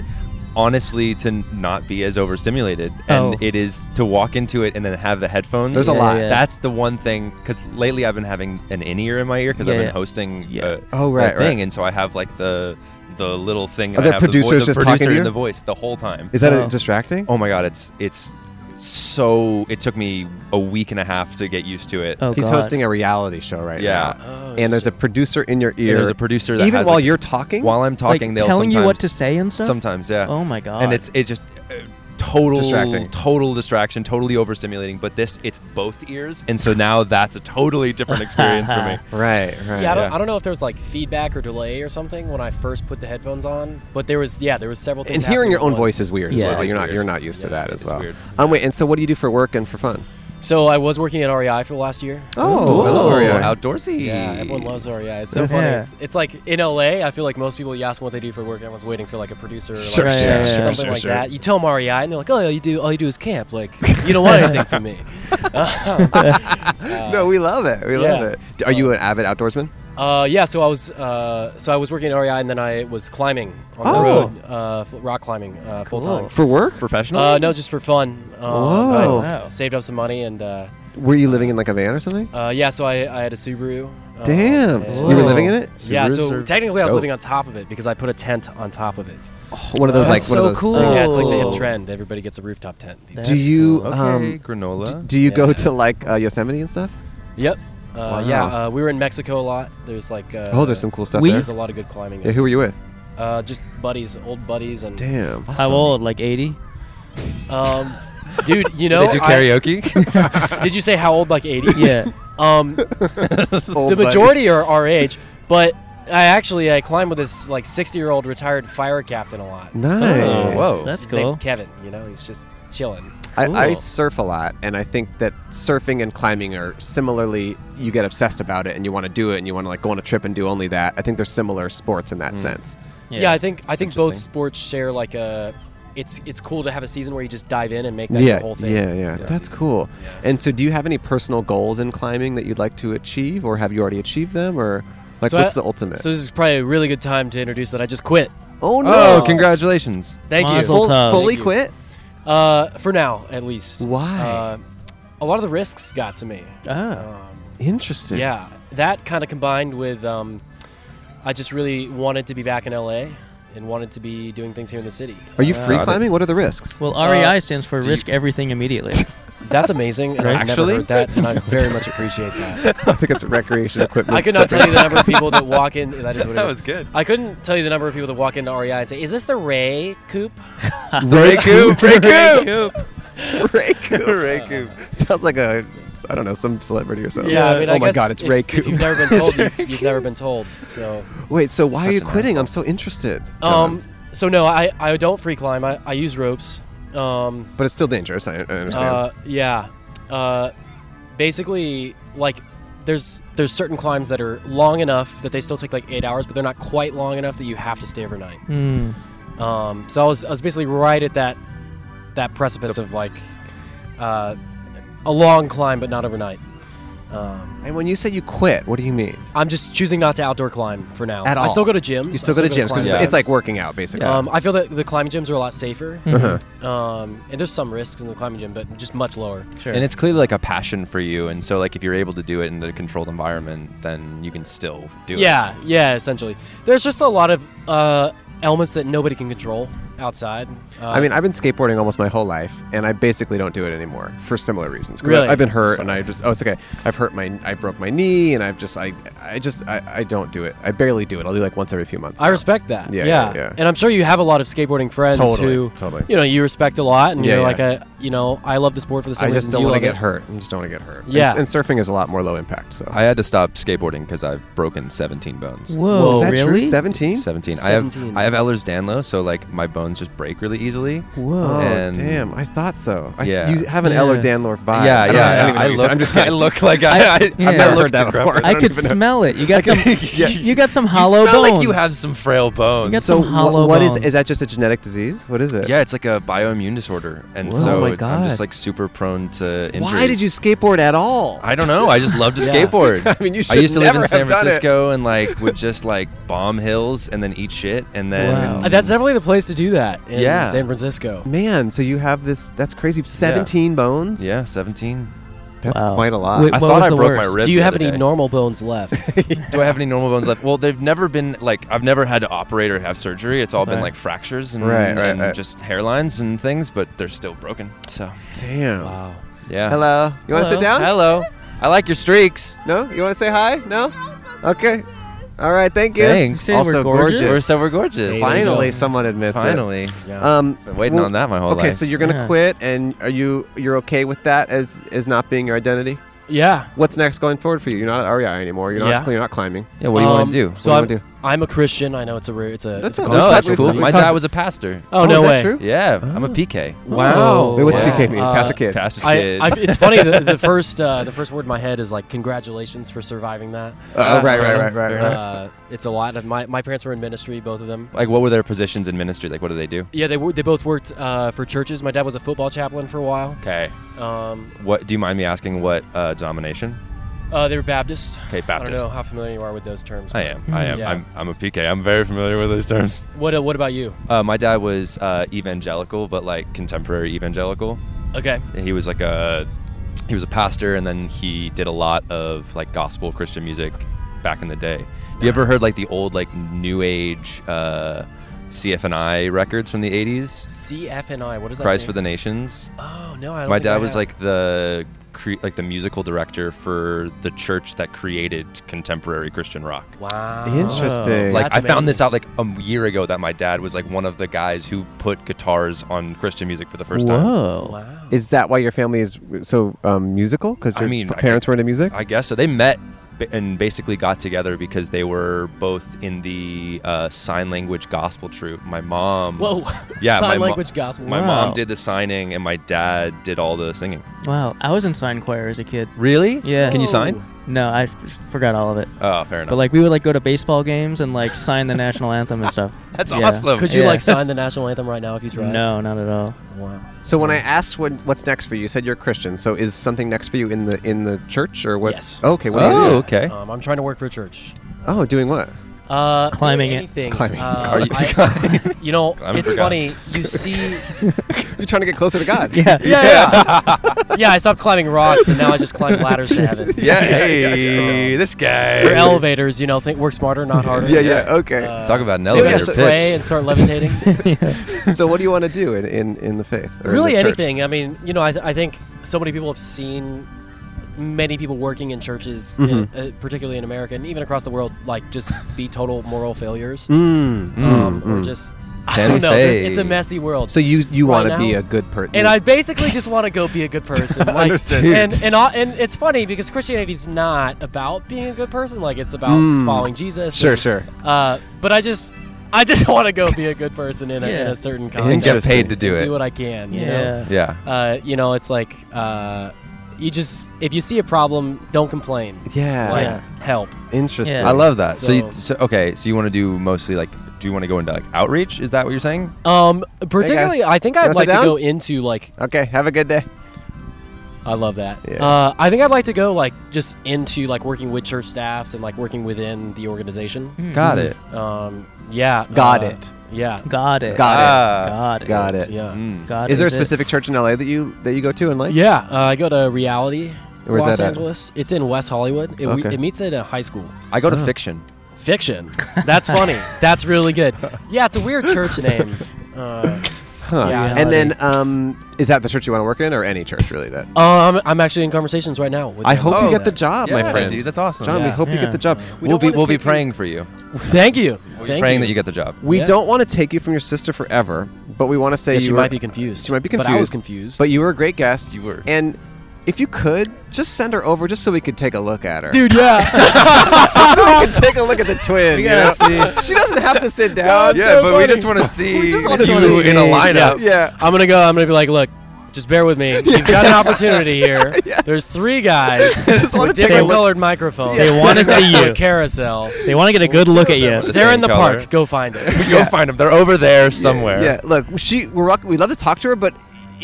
honestly to n- not be as overstimulated, and Oh. it is to walk into it and then have the headphones. There's a Yeah, lot. yeah. That's the one thing because lately I've been having an in ear in my ear because I've Yeah, been yeah. hosting Yeah. uh, Oh, a right, thing, right. and so I have like the the little thing. Are and I there have the vo- producers the just talking producer to you? and the voice the whole time? Is that uh, Oh. distracting? oh my god, it's it's so it took me a week and a half to get used to it. Oh, He's God. hosting a reality show right Yeah. now. Oh, And there's a producer in your ear. there's a producer that even has, while like- you're talking. While I'm like talking, they'll telling you what to sometimes- say and stuff. Sometimes, yeah. Oh my god. and it's it just uh, total Distracting. total distraction, totally overstimulating. But this, it's both ears, and so now that's a totally different experience for me. right, right. Yeah, I don't, Yeah. I don't know if there was like feedback or delay or something when I first put the headphones on, but there was yeah, there was several things. and hearing happening your at own once. voice is weird as Yeah, well. it's You're not weird. you're not used to that as it's well. weird. Um, wait, and so what do you do for work and for fun? So I was working at REI for the last year. Oh, I love Ooh, REI. outdoorsy. Yeah, everyone loves REI. It's so funny. Yeah. It's, it's like in LA, I feel like most people you ask them what they do for work, and everyone's waiting for like a producer or like, Sure, Right, yeah, yeah, yeah. something sure, like sure. that. You tell them REI, and they're like, "Oh, you do all you do is camp. Like you don't want anything from me." no, we love it. We Oh. Uh, yeah. love it. D- Are you an avid outdoorsman? Uh, yeah, so I was uh, so I was working at REI, and then I was climbing on Oh. the road, uh, f- rock climbing uh, full time. For work? professional. Uh, no, just for fun. Um, I Whoa. Wow. saved up some money and uh, Were you living in like a van or something? uh, yeah, so I, I had a Subaru. um, Damn. and- You were living in it? Yeah, Subarus so are technically I was dope. living on top of it because I put a tent on top of it. One of those like That's one of so those cool. things. Yeah, it's like the Oh. hip trend. Everybody gets a rooftop tent. these Do days. you okay, um d- granola. do you go Yeah. to like uh, Yosemite and stuff? Yep. Uh, Yeah, Wow. uh, we were in Mexico a lot. There's like uh, Oh, there's some cool stuff we- there. There's a lot of good climbing. Yeah, there. who were you with? uh, just buddies, old buddies, and Damn. How old? Like 80? um, dude, you know, Did you I- karaoke? did you say how old? Like 80? Yeah. Um, the majority are our age, but I actually I climbed with this like 60 year old retired fire captain a lot. Nice. Oh, whoa. That's His cool. name's Kevin. You know, he's just chilling. I, I Cool. surf a lot, and I think that surfing and climbing are similarly. You get obsessed about it, and you want to do it, and you want to like go on a trip and do only that. I think they're similar sports in Mm. that sense. Yeah, I think I think both sports share like a. It's it's cool to have a season where you just dive in and make that your yeah, whole thing. yeah, yeah. for a That's season. cool. And so, do you have any personal goals in climbing that you'd like to achieve, or have you already achieved them, or like So what's I- the ultimate? So this is probably a really good time to introduce that I just quit. oh Oh, congratulations. Thank Mazel you. tov. Full- fully Thank you. quit. Uh, for now, at least. Why? Uh, a lot of the risks got to me. Ah. Interesting. Yeah, that kind of combined with um, I just really wanted to be back in LA and wanted to be doing things here in the city. Are you free climbing? What are the risks? Well, REI stands for risk everything immediately. That's amazing. And I've never Actually? heard that, and I very much appreciate that. I think it's recreation equipment. I could not tell you the number of people that walk in. That is what it That is. was good. I couldn't tell you the number of people that walk into REI and say, "Is this the Ray Coop?" Reku, Reku, Coop. Reku, Reku. Sounds like a, I don't know, some celebrity or something. I mean, oh I my guess God, it's if, Ray If Coop. you've never been told, you've, you've never been told. So, Wait, so why are Such you an quitting? asshole. I'm so interested. um, John. so no, I I don't free climb. I, I use ropes. Um, but it's still dangerous. I, I understand. Uh, yeah. Uh, basically, like there's there's certain climbs that are long enough that they still take like eight hours, but they're not quite long enough that you have to stay overnight. Hmm. Mm. Um, so I was I was basically right at that that precipice of like uh, a long climb, but not overnight. Um, and when you say you quit, what do you mean? I'm just choosing not to outdoor climb for now. At I all. still go to gyms. You still go to gyms because climb it's, Yeah. it's like working out, basically. Um, I feel that the climbing gyms are a lot safer, Uh-huh. um, and there's some risks in the climbing gym, but just much lower. Sure. And it's clearly like a passion for you, and so like if you're able to do it in the controlled environment, then you can still do it. Yeah, yeah, essentially. There's just a lot of uh, elements that nobody can control outside. Uh, I mean, I've been skateboarding almost my whole life, and I basically don't do it anymore for similar reasons. 'Cause I- Really? I've been hurt, and I just oh, it's okay. I've hurt my, I broke my knee, and I've just, I, I just, I, I don't do it. I barely do it. I'll do like once every few months. I now. respect that. Yeah, Yeah, yeah, yeah. And I'm sure you have a lot of skateboarding friends Totally, who, totally. you know, you respect a lot, and Yeah, you're yeah. like, a, you know, I love the sport for the same I just reasons don't you want to love get it. hurt. I just don't want to get hurt. And Yeah. s- and surfing is a lot more low impact. So I had to stop skateboarding because I've broken 17 bones. Whoa, is that true? Oh, really? 17? 17. I 17. have I have Ehlers-Danlos, so like my bones just break really easily. Oh, Whoa. And- damn. I thought so. I, Yeah. You have an Yeah. Eller Danlor vibe. yeah, I don't- yeah. I don't even know I, what you said. look, I'm just I kidding. look like I, I, have yeah. never looked heard that that before. before. I, I don't could even know. smell it. You got some. Yeah. you, you got some hollow you smell bones. like you have some frail bones. You got So some hollow wh- what is bones. is that just a genetic disease? What is it? yeah, it's like a bioimmune disorder, and Whoa. so Oh my it- I'm God. just like super prone to injuries. Why did you skateboard at all? I don't know. I just love to Yeah. skateboard. I mean, you I should used to live never in San have done it. Francisco and like would just like bomb hills and then eat shit and then Wow. Uh, That's definitely the place to do that in Yeah. San Francisco. Man, so you have this that's crazy. 17 bones? yeah, 17. That's Wow. quite a lot. Wait, I what thought was I the broke my worst? rib. Do you the have other any day. normal bones left? Do I have any normal bones left? Well, they've never been like I've never had to operate or have surgery. It's all been Right. like fractures and, Right, right, and right. just hairlines and things, but they're still broken. So Damn. yeah. Hello. You want to sit Hello. down? Hello. I like your streaks. No? You want to say hi? No? Okay. All right. Thank you. Thanks. You say we're Also gorgeous? gorgeous. We're so we're gorgeous. There you Finally, go. someone admits Finally. it. Um, Been waiting well, on that my whole Okay, life. so you're gonna Yeah. quit, and are you you're okay with that as as not being your identity? yeah. What's next going forward for you? You're not at REI anymore. You're not Yeah. you're not climbing. yeah, what do you want Um, to do? So What I'm, do you I'm a Christian. I know it's a rare, it's a. That's it's a- a no, constant that's we've cool. talked- My we've talked- dad was a pastor. Oh, Oh, no is that way! true? Yeah, I'm a PK. Wow. Wait, what's Oh, yeah. PK mean? Uh, Pastor kid. Pastor's I, kid. I, it's funny. The, the first uh, the first word in my head is like congratulations for surviving that. oh, right, right, right, right, fair right. Uh, it's a lot. of- My my parents were in ministry, both of them. like, what were their positions in ministry? Like, what do they do? Yeah, they were, they both worked uh, for churches. My dad was a football chaplain for a while. Okay. Um, What do you mind me asking? What uh, denomination? uh, they were Baptist. Okay, I Baptist. don't know how familiar you are with those terms. I am. I am. Yeah. I'm, I'm a PK. I'm very familiar with those terms. What uh, What about you? Uh, my dad was uh, evangelical, but like contemporary evangelical. Okay. He was like a he was a pastor, and then he did a lot of like gospel Christian music back in the day. Have you ever heard like the old like New Age uh, CFNI records from the '80s? CFNI. What does that? Cries say? for the Nations. Oh no, I don't My think I dad was have. like the cre- like the musical director for the church that created contemporary Christian rock. Wow. Interesting. Like That's I found this amazing. out like a year ago that my dad was like one of the guys who put guitars on Christian music for the first time. Whoa. Wow. Is that why your family is so um, musical? Because I your mean, f- I parents were into music. I guess so. They met b- and basically got together because they were both in the uh, sign language gospel troop. My mom, Whoa. yeah, my Sign mo- language gospel. my Wow. mom did the signing and my dad did all the singing. Wow. I was in sign choir as a kid. Really? Yeah. Can you sign? No, I forgot all of it. Oh, fair enough. But like we would like go to baseball games and like sign the national anthem and stuff. That's yeah. awesome. Could you Yeah. like sign the national anthem right now if you tried? No, not at all. Wow. So when I asked what, what's next for you, you said you're a Christian. So is something next for you in the in the church or what? Yes. Okay. What are you oh, doing? okay. Um, I'm trying to work for a church. Oh, doing what? Uh, Climbing it. anything. Climbing. Uh, Are you- I- you know, Climbing it's for God. funny. You see. You're trying to get closer to God. Yeah. Yeah, I stopped climbing rocks and now I just climb ladders to heaven. Yeah, hey, this guy. Or elevators, you know, think work smarter, not harder. Yeah. Yeah. Okay. Uh, Talk about an maybe elevator I yeah, should pitch. so- pray and start levitating. so what do you want to do in, in, in the faith? or in really the church? anything. I mean, you know, I, th- I think so many people have seen many people working in churches, uh, Mm-hmm. uh, particularly in America and even across the world, like just be total moral failures. Mm, um, mm, or mm. just I Can don't know. It's, say. it's a messy world. So you you Right want to be now- a good person. and I basically just want to go be a good person. Like, Understood. and and I- and it's funny because Christianity's not about being a good person. Like it's about Mm. following Jesus. sure and- sure. Uh, but I just I just want to go be a good person in a, in Yeah. a certain and context. get paid to do Do it. what I can. You know. Yeah. Yeah. Uh, you know, it's like uh, you just if you see a problem, don't complain. Yeah. Like Yeah. help. Interesting. Yeah. I love that. So, you, So- so okay, so you want to do mostly like, do you want to go into like outreach? Is that what you're saying? Um, particularly, I think I'd Wanna sit like to down? go into like Okay. Have a good day. I love that. Yeah. Uh, I think I'd like to go like just into like working with church staffs and like working within the organization. Got it. Um, yeah. Hmm. Got uh, it. Yeah. Got it. Got Ah. Got it. Got it. Yeah. Mm. God Is there it. a specific church in LA that you that you go to and like? Yeah. Uh, I go to Reality, Where's Los that at? Angeles. It's in West Hollywood. It, we, Okay. it meets at a high school. I go to fiction. Fiction. That's funny. That's really good. Yeah, it's a weird church name. Uh, Huh. Yeah. And then um, is that the church you want to work in or any church really? That um, I'm actually in conversations right now. With I them hope you Oh, about get the that. job, my friend. dude, that's awesome. John, we Yeah. hope you Yeah. get the job. we will don't be wanna we'll be take you- praying for you. Thank you. Thank praying you. that you get the job. We Yeah. don't want to take you from your sister forever, but we want to say Yeah, you she were- might be confused. She might be confused. But I was confused. But you were a great guest. You were. And if you could, just send her over just so we could take a look at her. dude, yeah. just so we could take a look at the twin. We you gotta know? She doesn't have to sit down. yeah, but we just want to see just wanna you see. in a lineup. Yeah. I'm gonna go. I'm gonna be like, look, just bear with me. You've got an opportunity here. There's three guys Just wanna with take a different look. colored microphones. They standing wanna see next to a you. carousel. They want to get a good look at The you. They're same in the color. park. Go find it. Go find them. They're over there somewhere. Yeah. Look, she we're rock- we love to talk to her, but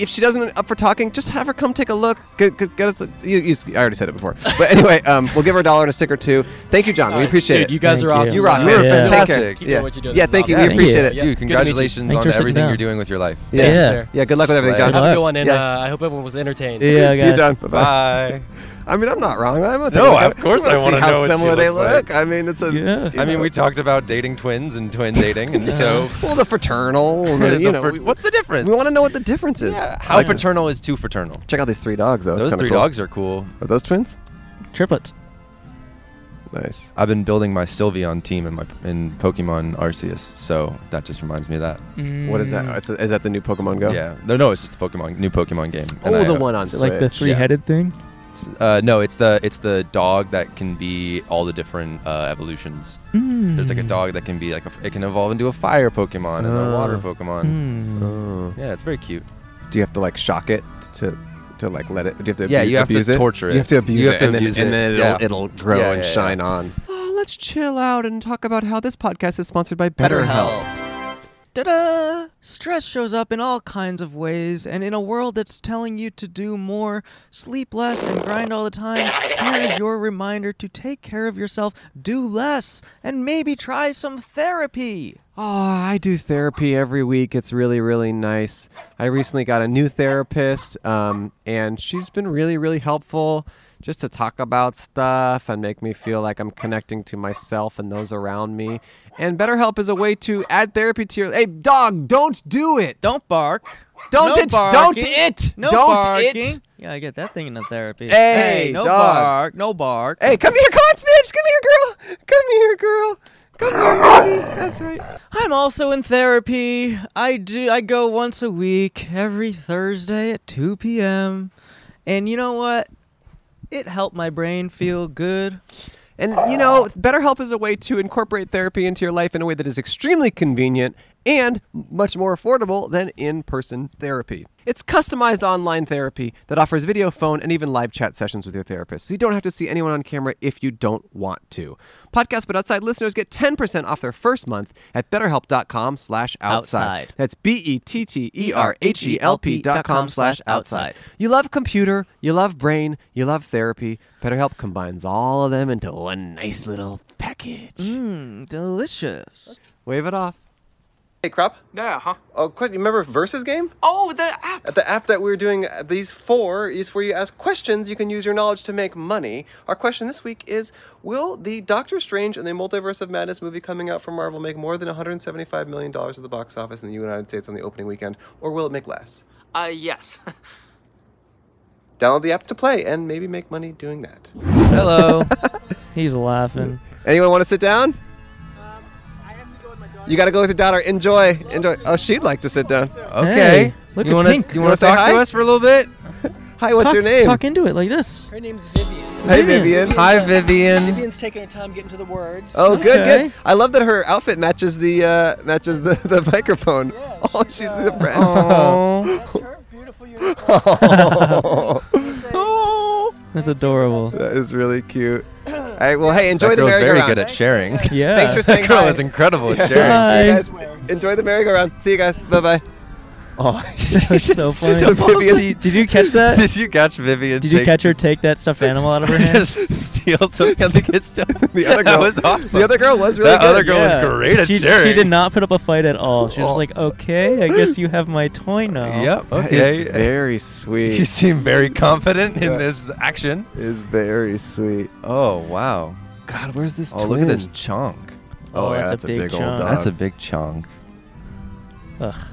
if she doesn't up for talking, just have her come take a look. Get, get, get us. The, you, you, I already said it before, but anyway, um, we'll give her a dollar and a sticker too. Thank you, John. we appreciate Dude, it. you guys Thank are you. awesome. You rock, Uh, man. Yeah. Fantastic. Keep yeah. doing what you're doing. Yeah, This is thank you. We awesome. Thank you. appreciate it. Dude, Yeah. Good to meet you. congratulations Thanks for on sitting everything down. you're doing with your life. Yeah. Yeah. yeah. Good luck with everything, Slay. John. Have a good one, and Yeah. uh, I hope everyone was entertained. Yeah, See you, guys. John. Bye-bye. Bye. I mean, I'm not wrong. I'm not No, of course I wanna to how know what she similar they looks look. like. I mean, it's a. Yeah. you I mean, know. we talked about dating twins and twin dating, and so Well, the fraternal. the, The you know, fr- we- what's the difference? We want to know what the difference is. Yeah, how paternal is too fraternal? Check out these three dogs, though. It's Those kinda three cool. dogs are cool. Are those twins? Triplets. Nice. I've been building my Sylveon team in my in Pokemon Arceus, so that just reminds me of that. What is Mm. that? It's- Is that the new Pokemon Go? Mm. Yeah. No, no, it's just the Pokemon new Pokemon game. Oh, And I- the one on Is it Switch. like the three-headed thing? it's- Uh, no, it's the it's the dog that can be all the different uh, evolutions. Mm. There's Hmm. like a dog that can be like a, it can evolve into a fire Pokemon and a water Oh. Pokemon. Mm. Oh. Yeah, it's very cute. Do you have to like shock it to to like let it? Do you have to Yeah, abu- you have to abuse it? torture it. You have to abuse You have it, to and, abuse then, it, and then it'll yeah. it'll grow Yeah, and yeah, shine on. Oh, let's chill out and talk about how this podcast is sponsored by BetterHelp. Ta-da! Stress shows up in all kinds of ways, and in a world that's telling you to do more, sleep less, and grind all the time, here is your reminder to take care of yourself, do less, and maybe try some therapy. Oh, I do therapy every week. It's really, really nice. I recently got a new therapist, um, and she's been really, really helpful just to talk about stuff and make me feel like I'm connecting to myself and those around me. And BetterHelp is a way to add therapy to your. Hey, dog, don't do it. Don't bark. Don't no it. Don't barking. it. No don't barking. it. Yeah, I get that thing in the therapy. Hey, no dog. bark. No bark. Hey, come here. Come on, Smidge. Come here, girl. Come here, girl. Come here, baby. That's right. I'm also in therapy. I do I go once a week, every Thursday at 2 p.m. And you know what? It helped my brain feel good. And you know, BetterHelp is a way to incorporate therapy into your life in a way that is extremely convenient and much more affordable than in-person therapy. It's customized online therapy that offers video, phone, and even live chat sessions with your therapist. So you don't have to see anyone on camera if you don't want to. Podcast But Outside listeners get 10% off their first month at betterhelp.com slash outside. Outside. That's E B-E-T-T-E-R-H-E-L-P E dot com slash outside. You love computer, you love brain, you love therapy. BetterHelp combines all of them into one nice little package. Mm, delicious. Wave it off. Hey, Crop. Yeah, huh? Oh, quick, you remember Versus Game? Oh, the app. At the app that we are doing uh, these four is where you ask questions. You can use your knowledge to make money. Our question this week is Will the Doctor Strange and the Multiverse of Madness movie coming out from Marvel make more than $175 million at the box office in the United States on the opening weekend, or will it make less? Uh, yes. Download the app to play and maybe make money doing that. Hello. He's laughing. Anyone want to sit down? You got to go with your daughter. Enjoy. Enjoy. Oh, she'd like to sit down. Okay. Hey, look you at wanna, Pink. You want Wanna to say talk hi? to us for a little bit? Hi, what's talk, your name? Talk into it like this. Her name's Vivian. Hey, Vivian. Vivian. Hi, Vivian. Vivian's taking her time getting to the words. Oh, good, good. Okay. I love that her outfit matches the uh, matches the, the microphone. oh, she's uh, the friend. Oh. That's her beautiful uniform. That's adorable. That is really cute. All right, well, hey, enjoy That the girl's very merry-go-round. good at sharing. Yeah. Thanks for saying That girl hi. is incredible at See you sharing. guys. Hi. Enjoy the merry-go-round. See you guys. Bye bye. Oh, That was so funny. so Vivian- She- did you catch that? Did you catch Vivian? Did you take- catch her take that stuffed animal out of her hand? just steal something other kid's stuff? The other that girl was awesome. The other girl was really that good. other girl Yeah. was great at she, sharing. She did not put up a fight at all. She was Oh. like, okay, I guess you have my toy now. Yep. That Okay. is very You sweet. seem very confident Yeah. in this action. is very sweet. Oh wow! God, where's this Oh look at this chunk. Oh, that's a big chunk. That's a big chunk. Ugh.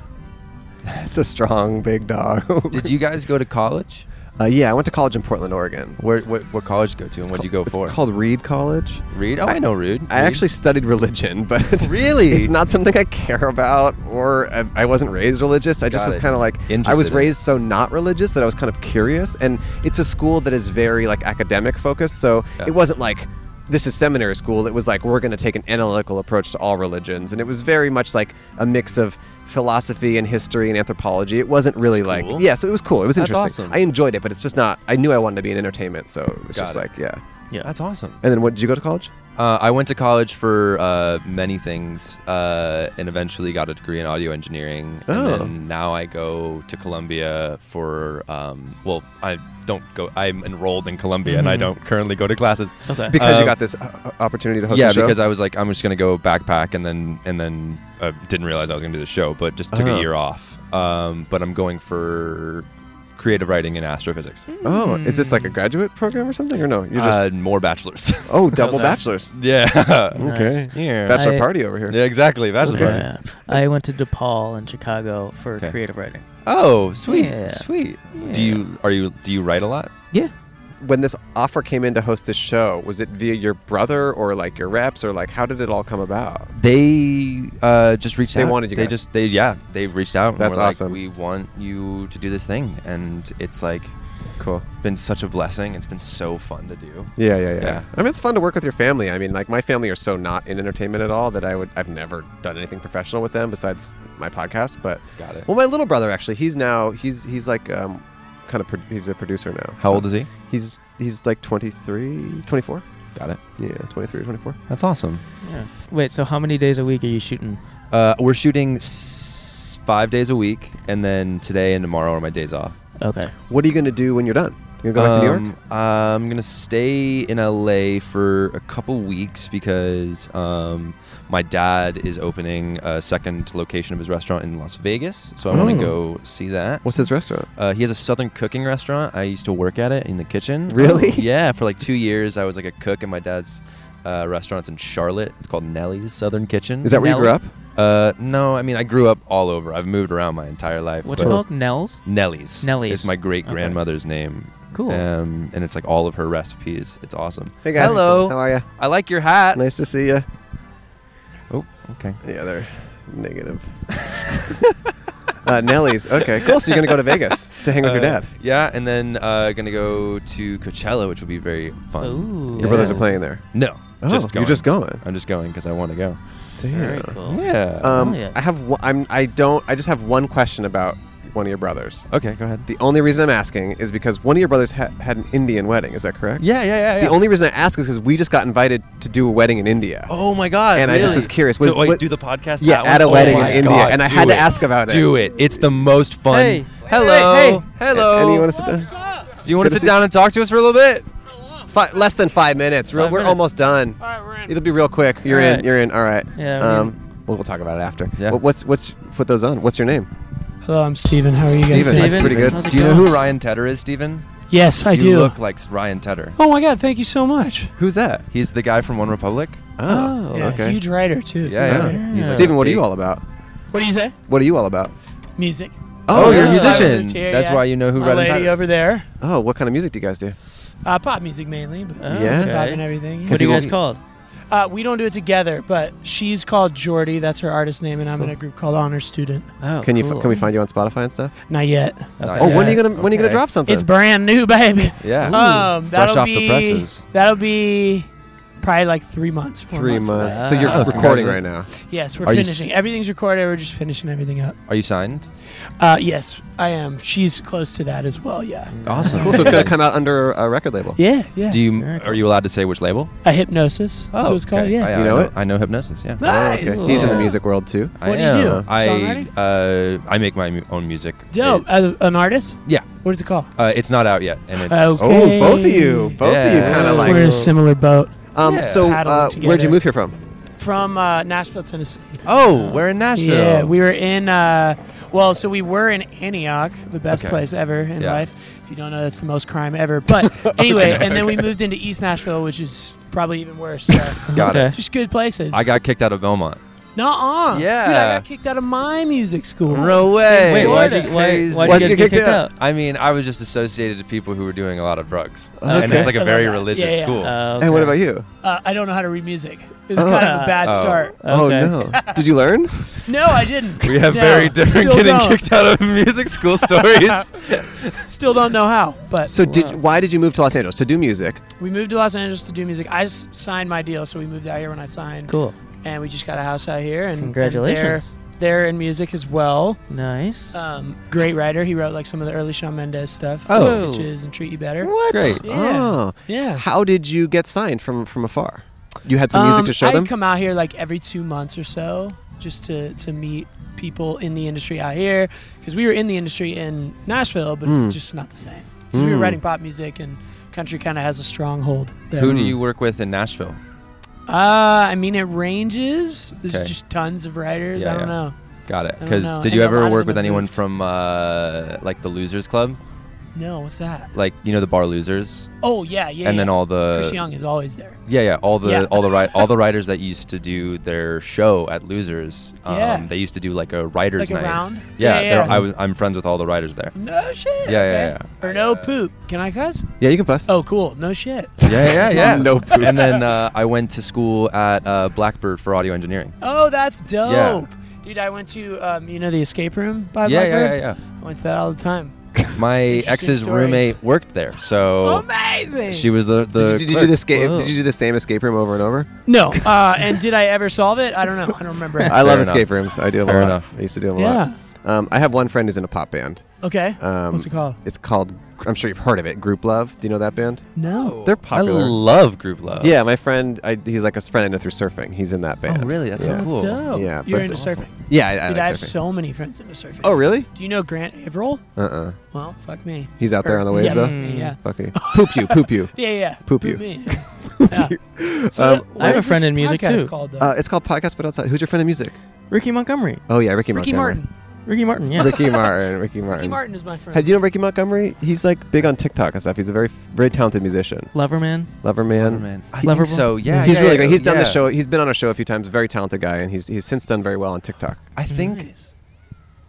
That's a strong big dog. Did you guys go to college? uh, yeah, I went to college in Portland, Oregon. Where what, what college did you go to and what did you go for? It's called Reed College. Reed. Oh, I, know Reed. I actually studied religion, but Really? it's not something I care about, or I, I wasn't raised religious. I just Got was it. kind of like I was Interested in it. raised so not religious that I was kind of curious. And it's a school that is very like academic focused, so Yeah. it wasn't like this is seminary school. It was like we're going to take an analytical approach to all religions, and it was very much like a mix of philosophy and history and anthropology. It wasn't really like cool. yeah, so it was cool. It was That's interesting. awesome. I enjoyed it, but it's just not. I knew I wanted to be in entertainment, so it was Got just it. like yeah. That's awesome. And then what did you go to college? Uh, I went to college for uh, many things uh, and eventually got a degree in audio engineering. And Oh. then now I go to Columbia for, um, well, I don't go, I'm enrolled in Columbia and I Mhm. don't currently go to classes. Okay. Because you Um, got this uh, opportunity to host yeah, a show? because I was like, I'm just gonna go backpack and then and then uh, didn't realize I was gonna do the show, but just took Uh-huh. a year off. Um, but I'm going for creative writing and astrophysics. Oh, is this like a graduate program or something? Or no? You're just. Mm. Uh, more bachelors. oh, double Okay. bachelors. yeah. Okay. Nice. Yeah. Bachelor I- party over here. yeah. Exactly. Bachelor. Okay. party. Yeah. I went to DePaul in Chicago for Okay. creative writing. Oh, sweet. Yeah. Sweet. Yeah. Do you are you do you write a lot? Yeah. When this offer came in to host this show, was it via your brother or like your reps or like how did it all come about? They uh, just reached They out. wanted you They guys. just they yeah they reached out. and That's were like, awesome. we want you to do this thing, and it's like Cool. been such a blessing. It's been so fun to do. Yeah, yeah, yeah, Yeah. I mean, it's fun to work with your family. I mean, like my family are so not in entertainment at all that I would I've never done anything professional with them besides my podcast. But Got it. well, my little brother actually, he's now he's he's like um, kind of pro- he's a producer now. How old is he? He's he's like 23, 24. Got it. Yeah, 23 or 24. That's awesome. Wait, so how many days a week are you shooting? Uh, we're shooting s- five days a week, and then today and tomorrow are my days off. Okay. What are you going to do when you're done? You're going to go back to New York? Um, I'm gonna stay in LA for a couple weeks because um, my dad is opening a second location of his restaurant in Las Vegas, so I want Oh. to go see that. What's his restaurant? Uh, he has a southern cooking restaurant. I used to work at it in the kitchen. Um, Really? Yeah, for like two years, I was like a cook in my dad's uh, restaurants in Charlotte. It's called Nelly's Southern Kitchen. Is that where you grew Nell- up? Uh, no, I mean I grew up all over. I've moved around my entire life. What's it but- called? Nels? Nellie's. Nellie's. It's my great grandmother's name. Cool. Um, and it's like all of her recipes. It's awesome. Hey guys. Hello. How are you? I like your hat. Nice to see you. Oh, okay. Yeah, they're negative. uh, Nelly's. Okay, cool. So you're going to go to Vegas to hang with your Uh, dad. Yeah, and then uh, gonna go to Coachella, which will be very fun. Ooh. Your brothers are playing there. No, Oh, just going. you're just going. I'm just going because I want to go. Very cool. Oh, Yeah. Um, Oh, yeah. I have. One, I'm. I don't. I just have one question about one of your brothers. okay, go ahead. The only reason I'm asking is because one of your brothers ha- had an Indian wedding. Is that correct? Yeah, yeah, yeah. The only reason I ask is because we just got invited to do a wedding in India. Oh my god! And I just really? was curious, So, was- wait, what- do the podcast? yeah, that at a one? wedding Oh in my India, God, and I do had to it. ask about it. Do it. It's the most fun. Hey. hello. Hey, hey. Hello. And you want us to do? Do you want Good to to sit see- down and talk to us for a little bit? Fi- less than five minutes. Real- Five we're minutes. almost done. All right, we're in. It'll be real quick. You're All in. right. You're in. All right. Yeah, we're Um, we'll, we'll talk about it after. Yeah. What- what's what's put those on? What's your name? Hello, I'm Steven. How are you guys? Steven. today? That's pretty good. How's it Do you know going? who Ryan Tedder is, Steven? Yes, I you do. look like Ryan Tedder. oh my God! Thank you so much. Who's that? He's the guy from One Republic. Oh, yeah, Huge writer too. Yeah, Huge yeah. writer. He's a Steven, what are big- you all about? What do you say? What are you all about? Music. Oh, you're a yeah. I musician. moved here, That's yeah. why you know who My Ryan lady Tedder. over there. Oh, what kind of music do you guys do? Uh, pop music mainly, but Oh, some Yeah. hip hop okay. and everything. yeah. What are you people- guys called? Uh, we don't do it together, but she's called Jordy. That's her artist name, and I'm in a group called Honor Student. Oh, Can you f- cool. can we find you on Spotify and stuff? Not yet. Uh, Nice. Oh, when are you gonna when are you gonna Okay. drop something? It's brand new, baby. Yeah. Um, that'll Fresh off be the presses. that'll be probably like three months. Four three months. months. away. Uh, So you're Wow. recording Congratulations. right now. Yes, we're Are you s- finishing. Everything's recorded. We're just finishing everything up. Are you signed? Uh, yes, I am. She's close to that as well. Yeah. Awesome. Cool. So it's gonna come out under a record label. Yeah. Yeah. Do you are you allowed to say which label? a hypnosis? That's what it's called. okay. Yeah. I, I You know it? I know hypnosis. Yeah. Oh, okay. Nice. He's in the Yeah. music world too. I What do you am. do? Songwriting? I uh, I make my mu- own music. Dope. It- As an artist? yeah. What is it called? Uh, it's not out yet, and it's Okay. Oh, both of you, both of you, Yeah. kind of We're in a like. similar boat. Um, Yeah. so Paddling uh, where'd you together. move here from? From uh, Nashville, Tennessee. oh, we're in Nashville. Yeah, we were in. Uh, well, so we were in Antioch, the best Okay. place ever in Yeah. life. If you don't know, that's the most crime ever. But anyway, and then we moved into East Nashville, which is probably even worse. So got Okay. it. just good places. I got kicked out of Belmont. Nuh-uh. dude, I Yeah. got kicked out of my music school. No way. Wait, why'd you, Florida. why, Crazy. why'd you get, kicked out? I mean, I was just associated to people who were doing a lot of drugs, and Okay. it's like I a love very that. religious Yeah, yeah. school. Oh, And what okay. about you? Uh, I don't know how to read music. It's kind of a bad Oh. start. Oh Okay. no! Did you learn? No, I didn't. we have No, very different still getting don't. kicked out of music school stories. Still don't know how, but So did Wow. why did you move to Los Angeles to do music? we moved to Los Angeles to do music. I s- signed my deal, so we moved out here when I signed, Cool. and we just got a house out here. And and they're- Congratulations. they're in music as well. Nice. Um, great writer. He wrote like some of the early Shawn Mendes stuff, Oh. like Stitches and Treat You Better. Great. Yeah. Oh, Yeah. how did you get signed from from afar? you had some music Um, to show I them? come out here like every two months or so, just to to meet people in the industry out here, because we were in the industry in Nashville, but Mm. it's just not the same. 'Cause We were Mm. writing pop music, and country kind of has a stronghold there. Who do you work with in Nashville? Uh, I mean, it ranges. There's Okay. just tons of writers. Yeah, I don't yeah. know. Got it. I don't Because know. did And you a lot ever of work them with have anyone moved. from uh, like the Losers Club? No, what's that? Like you know the bar Losers. Oh, yeah, yeah, And then yeah. all the Chris Young is always there. Yeah, yeah. All the Yeah. all the ri- all the writers that used to do their show at Losers. Um, Yeah. They used to do like a writers Like a night. round? Yeah, Yeah, they're- yeah. I was, I'm friends with all the writers there. No shit. Yeah, okay. yeah, Or no poop. Can I cuss? Yeah, you can cuss. Oh, cool. No shit. Yeah, yeah, That's yeah. awesome. And then uh, I went to school at uh, Blackbird for audio engineering. Oh, that's dope. Yeah. Dude, I went to um, you know the escape room Yeah, by yeah, Blackbird? yeah, I went to that all the time. My Interesting Oh, ex's stories. roommate worked there, Oh. so Amazing. She was the did you, the. did you do clerk. the escape? Did you do the same escape room over and over? No. Uh, and did I ever solve it? I don't know. I don't remember. I love enough. escape rooms. I do them Fair a lot. enough. I used to do them a Yeah. lot. Um, I have one friend who's in a pop band. Okay. Um, What's it called? It's called. I'm sure you've heard of it. Group Love. Do you know that band? No. They're popular. I love group love. Oh, Yeah, my friend. I, he's like a friend I know through surfing. He's in that band. really? That's so yeah. That's cool. dope. Yeah, You're but into it's surfing. Yeah, I, I Dude, like I have surfing. so many friends into surfing. Oh, really? Do you know Grant Averill? Uh uh Well, fuck me. He's out there Or- on the waves yeah, though. mm, Yeah. Fuck you. Poop you. Poop you. Yeah, yeah. Poop you. me. Yeah. So Um, what- what I have a is friend this in music, podcast too. Called, though? Uh, it's called podcast, but outside. Who's your friend of music? Ricky Montgomery. Oh yeah, Ricky, Ricky Montgomery. Martin. Ricky Martin, yeah. Ricky Martin. Ricky Martin. Ricky Martin is my friend. Hey, do you know Ricky Montgomery? He's like big on TikTok and stuff. He's a very, very talented musician. Loverman. Lover man. Man, I Loverboy? think so. Yeah, he's yeah, really yeah, great. He's done the yeah. show. He's been on a show a few times. Very talented guy, and he's he's since done very well on TikTok. I think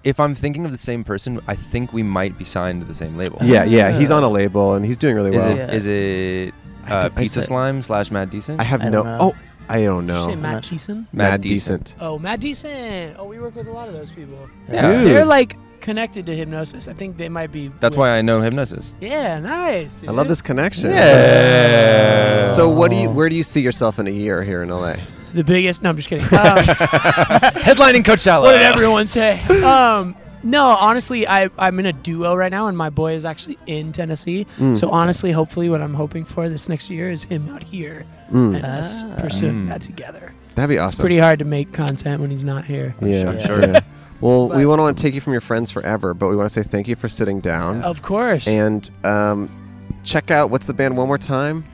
if I'm thinking of the same person, I think we might be signed to the same label. Yeah, yeah. He's on a label, and he's doing really Is well. it is it uh, I Pizza said- Slime slash Mad Decent? I have I no. don't know. Oh, I don't Did you know. say Matt Thiessen? Mad Mad Decent. decent. Oh, Matt Deason. Oh, we work with a lot of those people. Yeah. Dude. They're like connected to hypnosis. I think they might be. That's with- why I know Hypnosis. Yeah, nice. I love dude. this connection. Yeah. So, what do you? Where do you see yourself in a year here in LA? The biggest. No, I'm just kidding. Um, Headlining Coachella. what did everyone say? Um, no, honestly, I, I'm in a duo right now, and my boy is actually in Tennessee. Hmm. So honestly, hopefully, what I'm hoping for this next year is him out here and Ah. us pursuing Mm. that together. That'd be awesome. Hmm. It's pretty hard to make content when he's not here. Yeah. I'm sure. yeah. Well, we But- want to want to take you from your friends forever, but we want to say thank you for sitting down Of course. and um, check out what's the band one more time.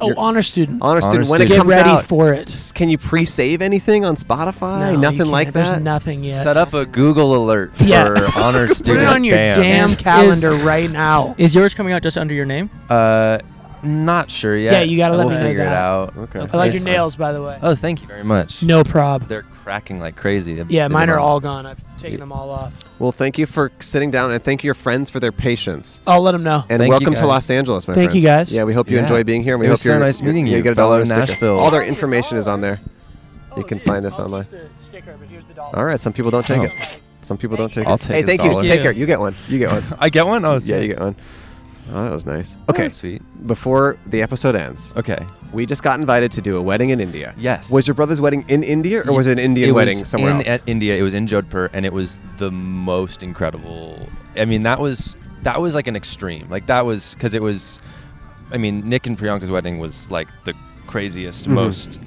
oh, you're- honor student. Honor Honor student, when it Student. Get comes ready out, for it. can you pre-save anything on Spotify? No, you Nothing like can't. There's that. nothing yet. Set up a Google alert for Yes. honor Put student. it on your band. damn Is- calendar right now. Is yours coming out just under your name? Uh, not sure yet. Yeah, you gotta let we'll me know figure that. it out. Okay. I like your nails, by the way. Oh, thank you very much. No prob. They're cracking like crazy. They- Yeah, they mine are don't- all gone. I've taken them all off. well, thank you for sitting down and thank your friends for their patience. I'll let them know. And Thank you, welcome to guys. Los Angeles, my Thank friend. you, guys. Yeah, we hope you Yeah. enjoy being here. and We It hope was so you're, nice you're- meeting you, get a fellow dollar in sticker. Nashville. All their information is on there. You can find this I'll keep online. Oh, the sticker, but here's the dollar. All right, some people don't take Oh. it. Some people don't take I'll it. take Hey, his thank you. dollar. Take Yeah. care. You get one. You get one. I get one. Oh, yeah, sweet. you get one. Oh, that was nice. Okay, Okay, sweet. before the episode ends, Okay. we just got invited to do a wedding in India. Yes. Was your brother's wedding in India or Ye- was it an Indian it wedding was somewhere in else? at India. It was in Jodhpur, and it was the most incredible. I mean, that was that was like an extreme. Like that was because it was. I mean, Nick and Priyanka's wedding was like the craziest, Mm-hmm. most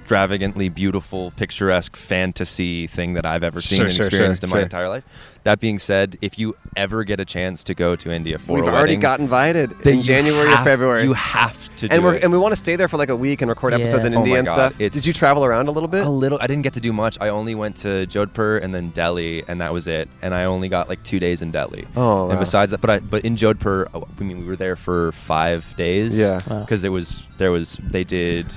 extravagantly beautiful, picturesque fantasy thing that I've ever seen Sure, and sure, sure, experienced in my sure. entire life. That being said, if you ever get a chance to go to India for We've a already wedding, got invited then in you January have- or February. you have to. and do we're it. and we want to stay there for like a week and record episodes in Yeah. Oh my India and God, stuff. it's- Did you travel around a little bit? A little. I didn't get to do much. I only went to Jodhpur and then Delhi, and that was it. And I only got like two days in Delhi. Oh, And wow. besides that, but I but in Jodhpur, oh, I mean, we were there for five days. Yeah. Wow. Because it was there was they did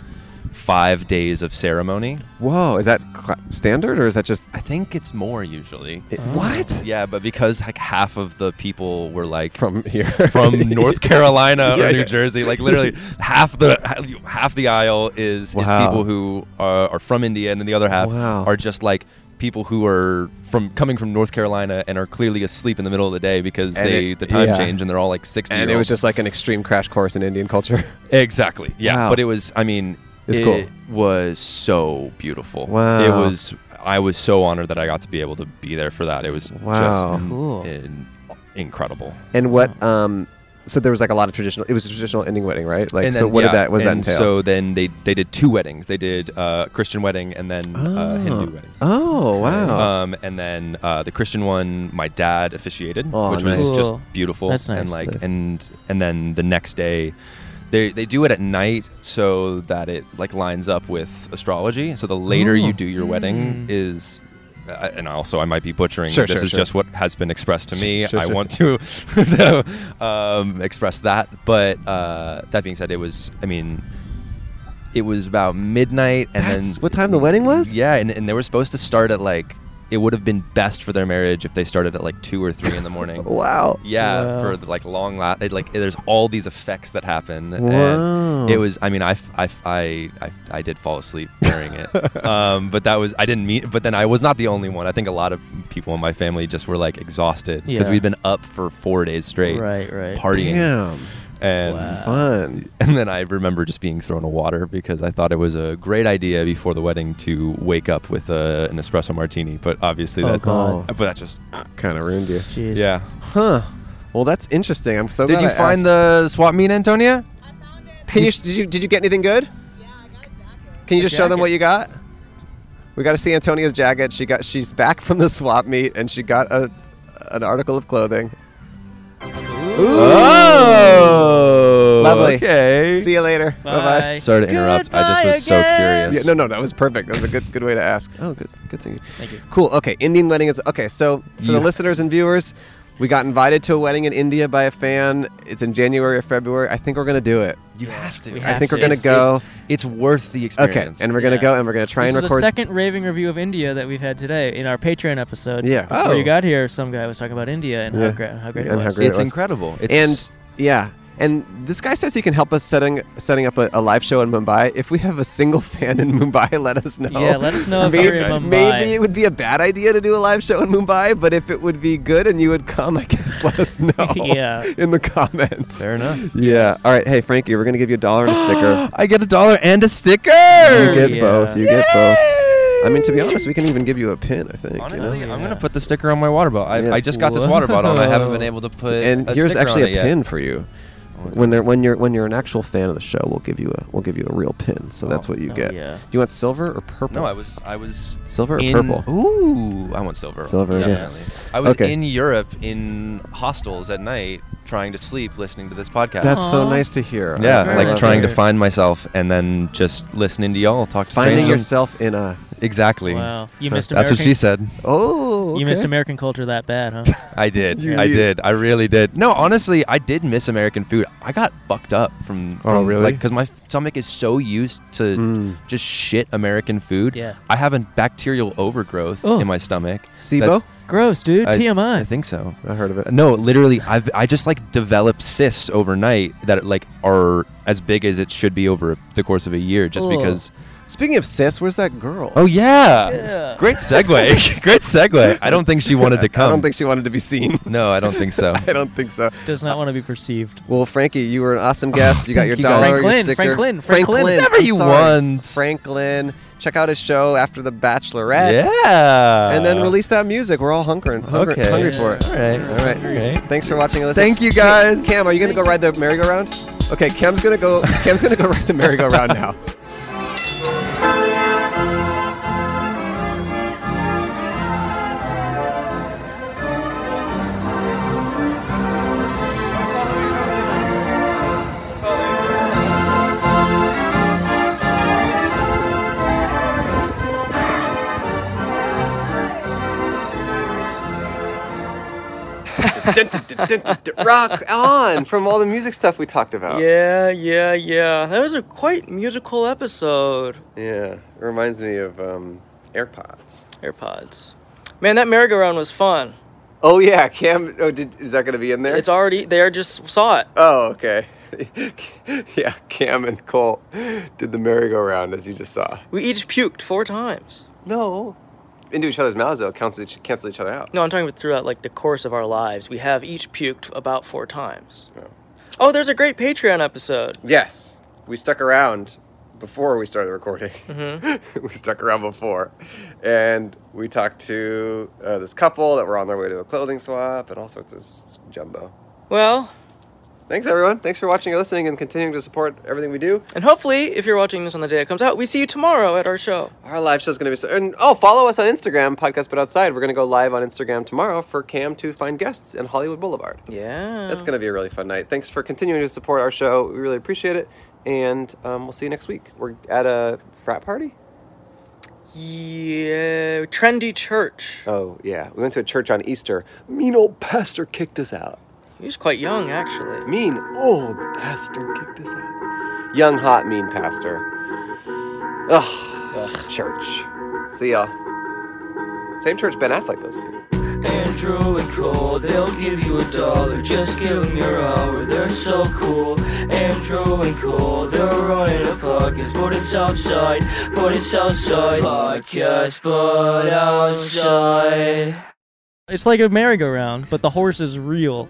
five days of ceremony. Whoa, is that cl- standard or is that just I think it's more usually. it, what? yeah, but because like half of the people were like From here. from North Carolina Yeah, or New yeah. Jersey. Like literally half the half the aisle is, Wow. is people who uh, are, are from India, and then the other half Wow. are just like people who are from coming from North Carolina and are clearly asleep in the middle of the day because And they it- the time yeah. change and they're all like sixty. And it was just like an extreme crash course in Indian culture. exactly yeah. Wow. But it was I mean It's it cool. was so beautiful. Wow. It was I was so honored that I got to be able to be there for that. It was Wow. just Cool. in- incredible. And what um so there was like a lot of traditional. It was a traditional ending wedding, right? Like, And so then- what yeah, did that? Was that and entail? So then they they did two weddings. They did uh, Christian wedding and then uh, Hindu wedding. Oh wow! Um, and then uh, the Christian one, my dad officiated, Oh, which nice. was just Cool. beautiful. That's nice. And like, Nice. and and then the next day, they they do it at night so that it like lines up with astrology. So the later Oh. you do your Hmm. wedding is. Uh, and also, I might be butchering. Sure, this sure, is sure. just what has been expressed to me. Sure, I sure. want to um, express that. But uh, that being said, it was. I mean, it was about midnight, and That's then what time the wedding was? yeah, and, and they were supposed to start at like it would have been best for their marriage if they started at like two or three in the morning. Wow. Yeah, Wow. for the, like long la- it, like there's all these effects that happen. Wow. And it was I mean I, f- I, f- I, I, I did fall asleep during it. um, but that was I didn't mean but then I was not the only one. I think a lot of people in my family just were like exhausted because Yeah. we'd been up for 4 days straight Right, right. partying. Damn. And Fun. and then I remember just being thrown a water because I thought it was a great idea before the wedding to wake up with a, an espresso martini. But obviously, Oh, that Uh, God. but that just Kind of ruined you. Jeez. yeah. Huh. Well, that's interesting. I'm so. Did glad you I find asked. the swap meet, Antonia? Can you? Did you? Did you get anything good? Can you just show them what you got? We got to see Antonia's jacket. She got. She's back from the swap meet, and she got a, an article of clothing. Oh, Lovely. Okay. See you later. Bye Bye. Sorry to interrupt. I just was so bye. curious. Yeah, no, no, that was perfect. That was a good, good way to ask. Oh, good, good thing. Thank you. Cool. Okay, Indian wedding is okay. So for Yeah. the listeners and viewers, we got invited to a wedding in India by a fan. It's in January or February. I think we're gonna do it. you have to. We I have think to. we're gonna It's- go. It's worth the Okay, experience. and we're gonna Yeah. go and we're gonna try This and is the record. second raving review of India that we've had today in our Patreon episode. Yeah. Before Oh. you got here, some guy was talking about India and Yeah. how, gra- how great it And how was. great it's it was. incredible. It's, and yeah, and this guy says he can help us setting setting up a, a live show in Mumbai. If we have a single fan in Mumbai, let us know. Yeah, let us know if Oh. maybe, you're in Mumbai. Maybe it would be a bad idea to do a live show in Mumbai, but if it would be good and you would come, I guess let us know. Yeah. in the comments. fair enough. Yeah. All right. Hey, Frankie, we're gonna give you a dollar and a sticker. I get a dollar and a sticker. You get Yeah. both. You get both. I mean, to be honest, we can even give you a pin. I think. you know? Honestly, know? I'm Yeah. gonna put the sticker on my water bottle. I, Yeah. I just got this water bottle, and I haven't been Whoa. able to put. and a here's sticker on actually it a yet. Oh pin for you. my When they're when you're when you're an actual fan of the show, we'll give you a we'll give you a real pin. So that's Oh. what you Oh, get. yeah. Do you want silver or purple? No, I was I was silver or in- purple. Ooh, I want silver. Silver, yeah. definitely. I was Okay. in Europe in hostels at night, trying to sleep, listening to this podcast. That's so Aw. nice to hear. yeah, very I like love trying it. to find myself, and then just listening to y'all talk to finding strangers. yourself in us. Exactly. Wow. You That's missed American what she said. Oh, You missed okay. American culture that bad, huh? I did. You I did. did. I really did. No, honestly, I did miss American food. I got fucked up from. Oh, from, really? Like, because my stomach is so used to Mm. just shit American food. Yeah. I have a bacterial overgrowth Oh. in my stomach. SIBO. That's- Gross, dude. I- TMI. I think so. I heard of it. No, literally, I've I just like developed cysts overnight that like are as big as it should be over the course of a year, just Ugh. because. Speaking of sis, where's that girl? Oh yeah. Yeah. Great segue. Great segue. I don't think she wanted to come. I don't think she wanted to be seen. No, I don't think so. I don't think so. Uh, Does not want to be perceived. Well, Frankie, you were an awesome guest. You got your thank you, guys. dollar, your Franklin, sticker. Franklin, Franklin. Whatever I'm you sorry. want. Franklin. Check out his show after the Bachelorette. Yeah. And then release that music. We're all hunkering, hunger, Okay. hungry for it. All right. All right. All right. Thanks for watching and listening. Thank you guys. Cam, are you gonna go ride the merry-go-round? Okay, Cam's gonna go. Cam's gonna go ride the merry-go-round now. Rock on from all the music stuff we talked about. Yeah, yeah, yeah. That was a quite musical episode. Yeah, it reminds me of um, AirPods. AirPods. Man, that merry-go-round was fun. Oh yeah, Cam. Oh, did, is that going to be in there? It's already there. Just saw it. oh, okay. yeah, Cam and Cole did the merry-go-round as you just saw. We each puked four times. No, into each other's mouths though, cancel each, cancel each other out. No, I'm talking about throughout like the course of our lives. We have each puked about four times. Oh, there's a great Patreon episode. Yes, we stuck around before we started recording. we stuck around before, and we talked to uh, this couple that were on their way to a clothing swap and all sorts of s- jumbo. Well, Thanks, everyone. Thanks for watching or listening and continuing to support everything we do. And hopefully, if you're watching this on the day it comes out, we see you tomorrow at our show. Our live show's going to be so. And, oh, follow us on Instagram, Podcast But Outside. We're going to go live on Instagram tomorrow for Cam to find guests in Hollywood Boulevard. Yeah. That's going to be a really fun night. Thanks for continuing to support our show. We really appreciate it. And um, we'll see you next week. We're at a frat party. Yeah. Trendy church. Oh, yeah. We went to a church on Easter. Mean old pastor kicked us out. He was quite young, actually. Mean old pastor kicked us out. Young, hot, mean pastor. Ugh. Church. See y'all. Same church Ben Affleck goes to. Andrew and Cole, they'll give you a dollar, just give them your hour, they're so cool. Andrew and Cole, they're running a podcast, but it's outside, but it's outside. Podcast, but outside. It's like a merry-go-round, but the horse is real.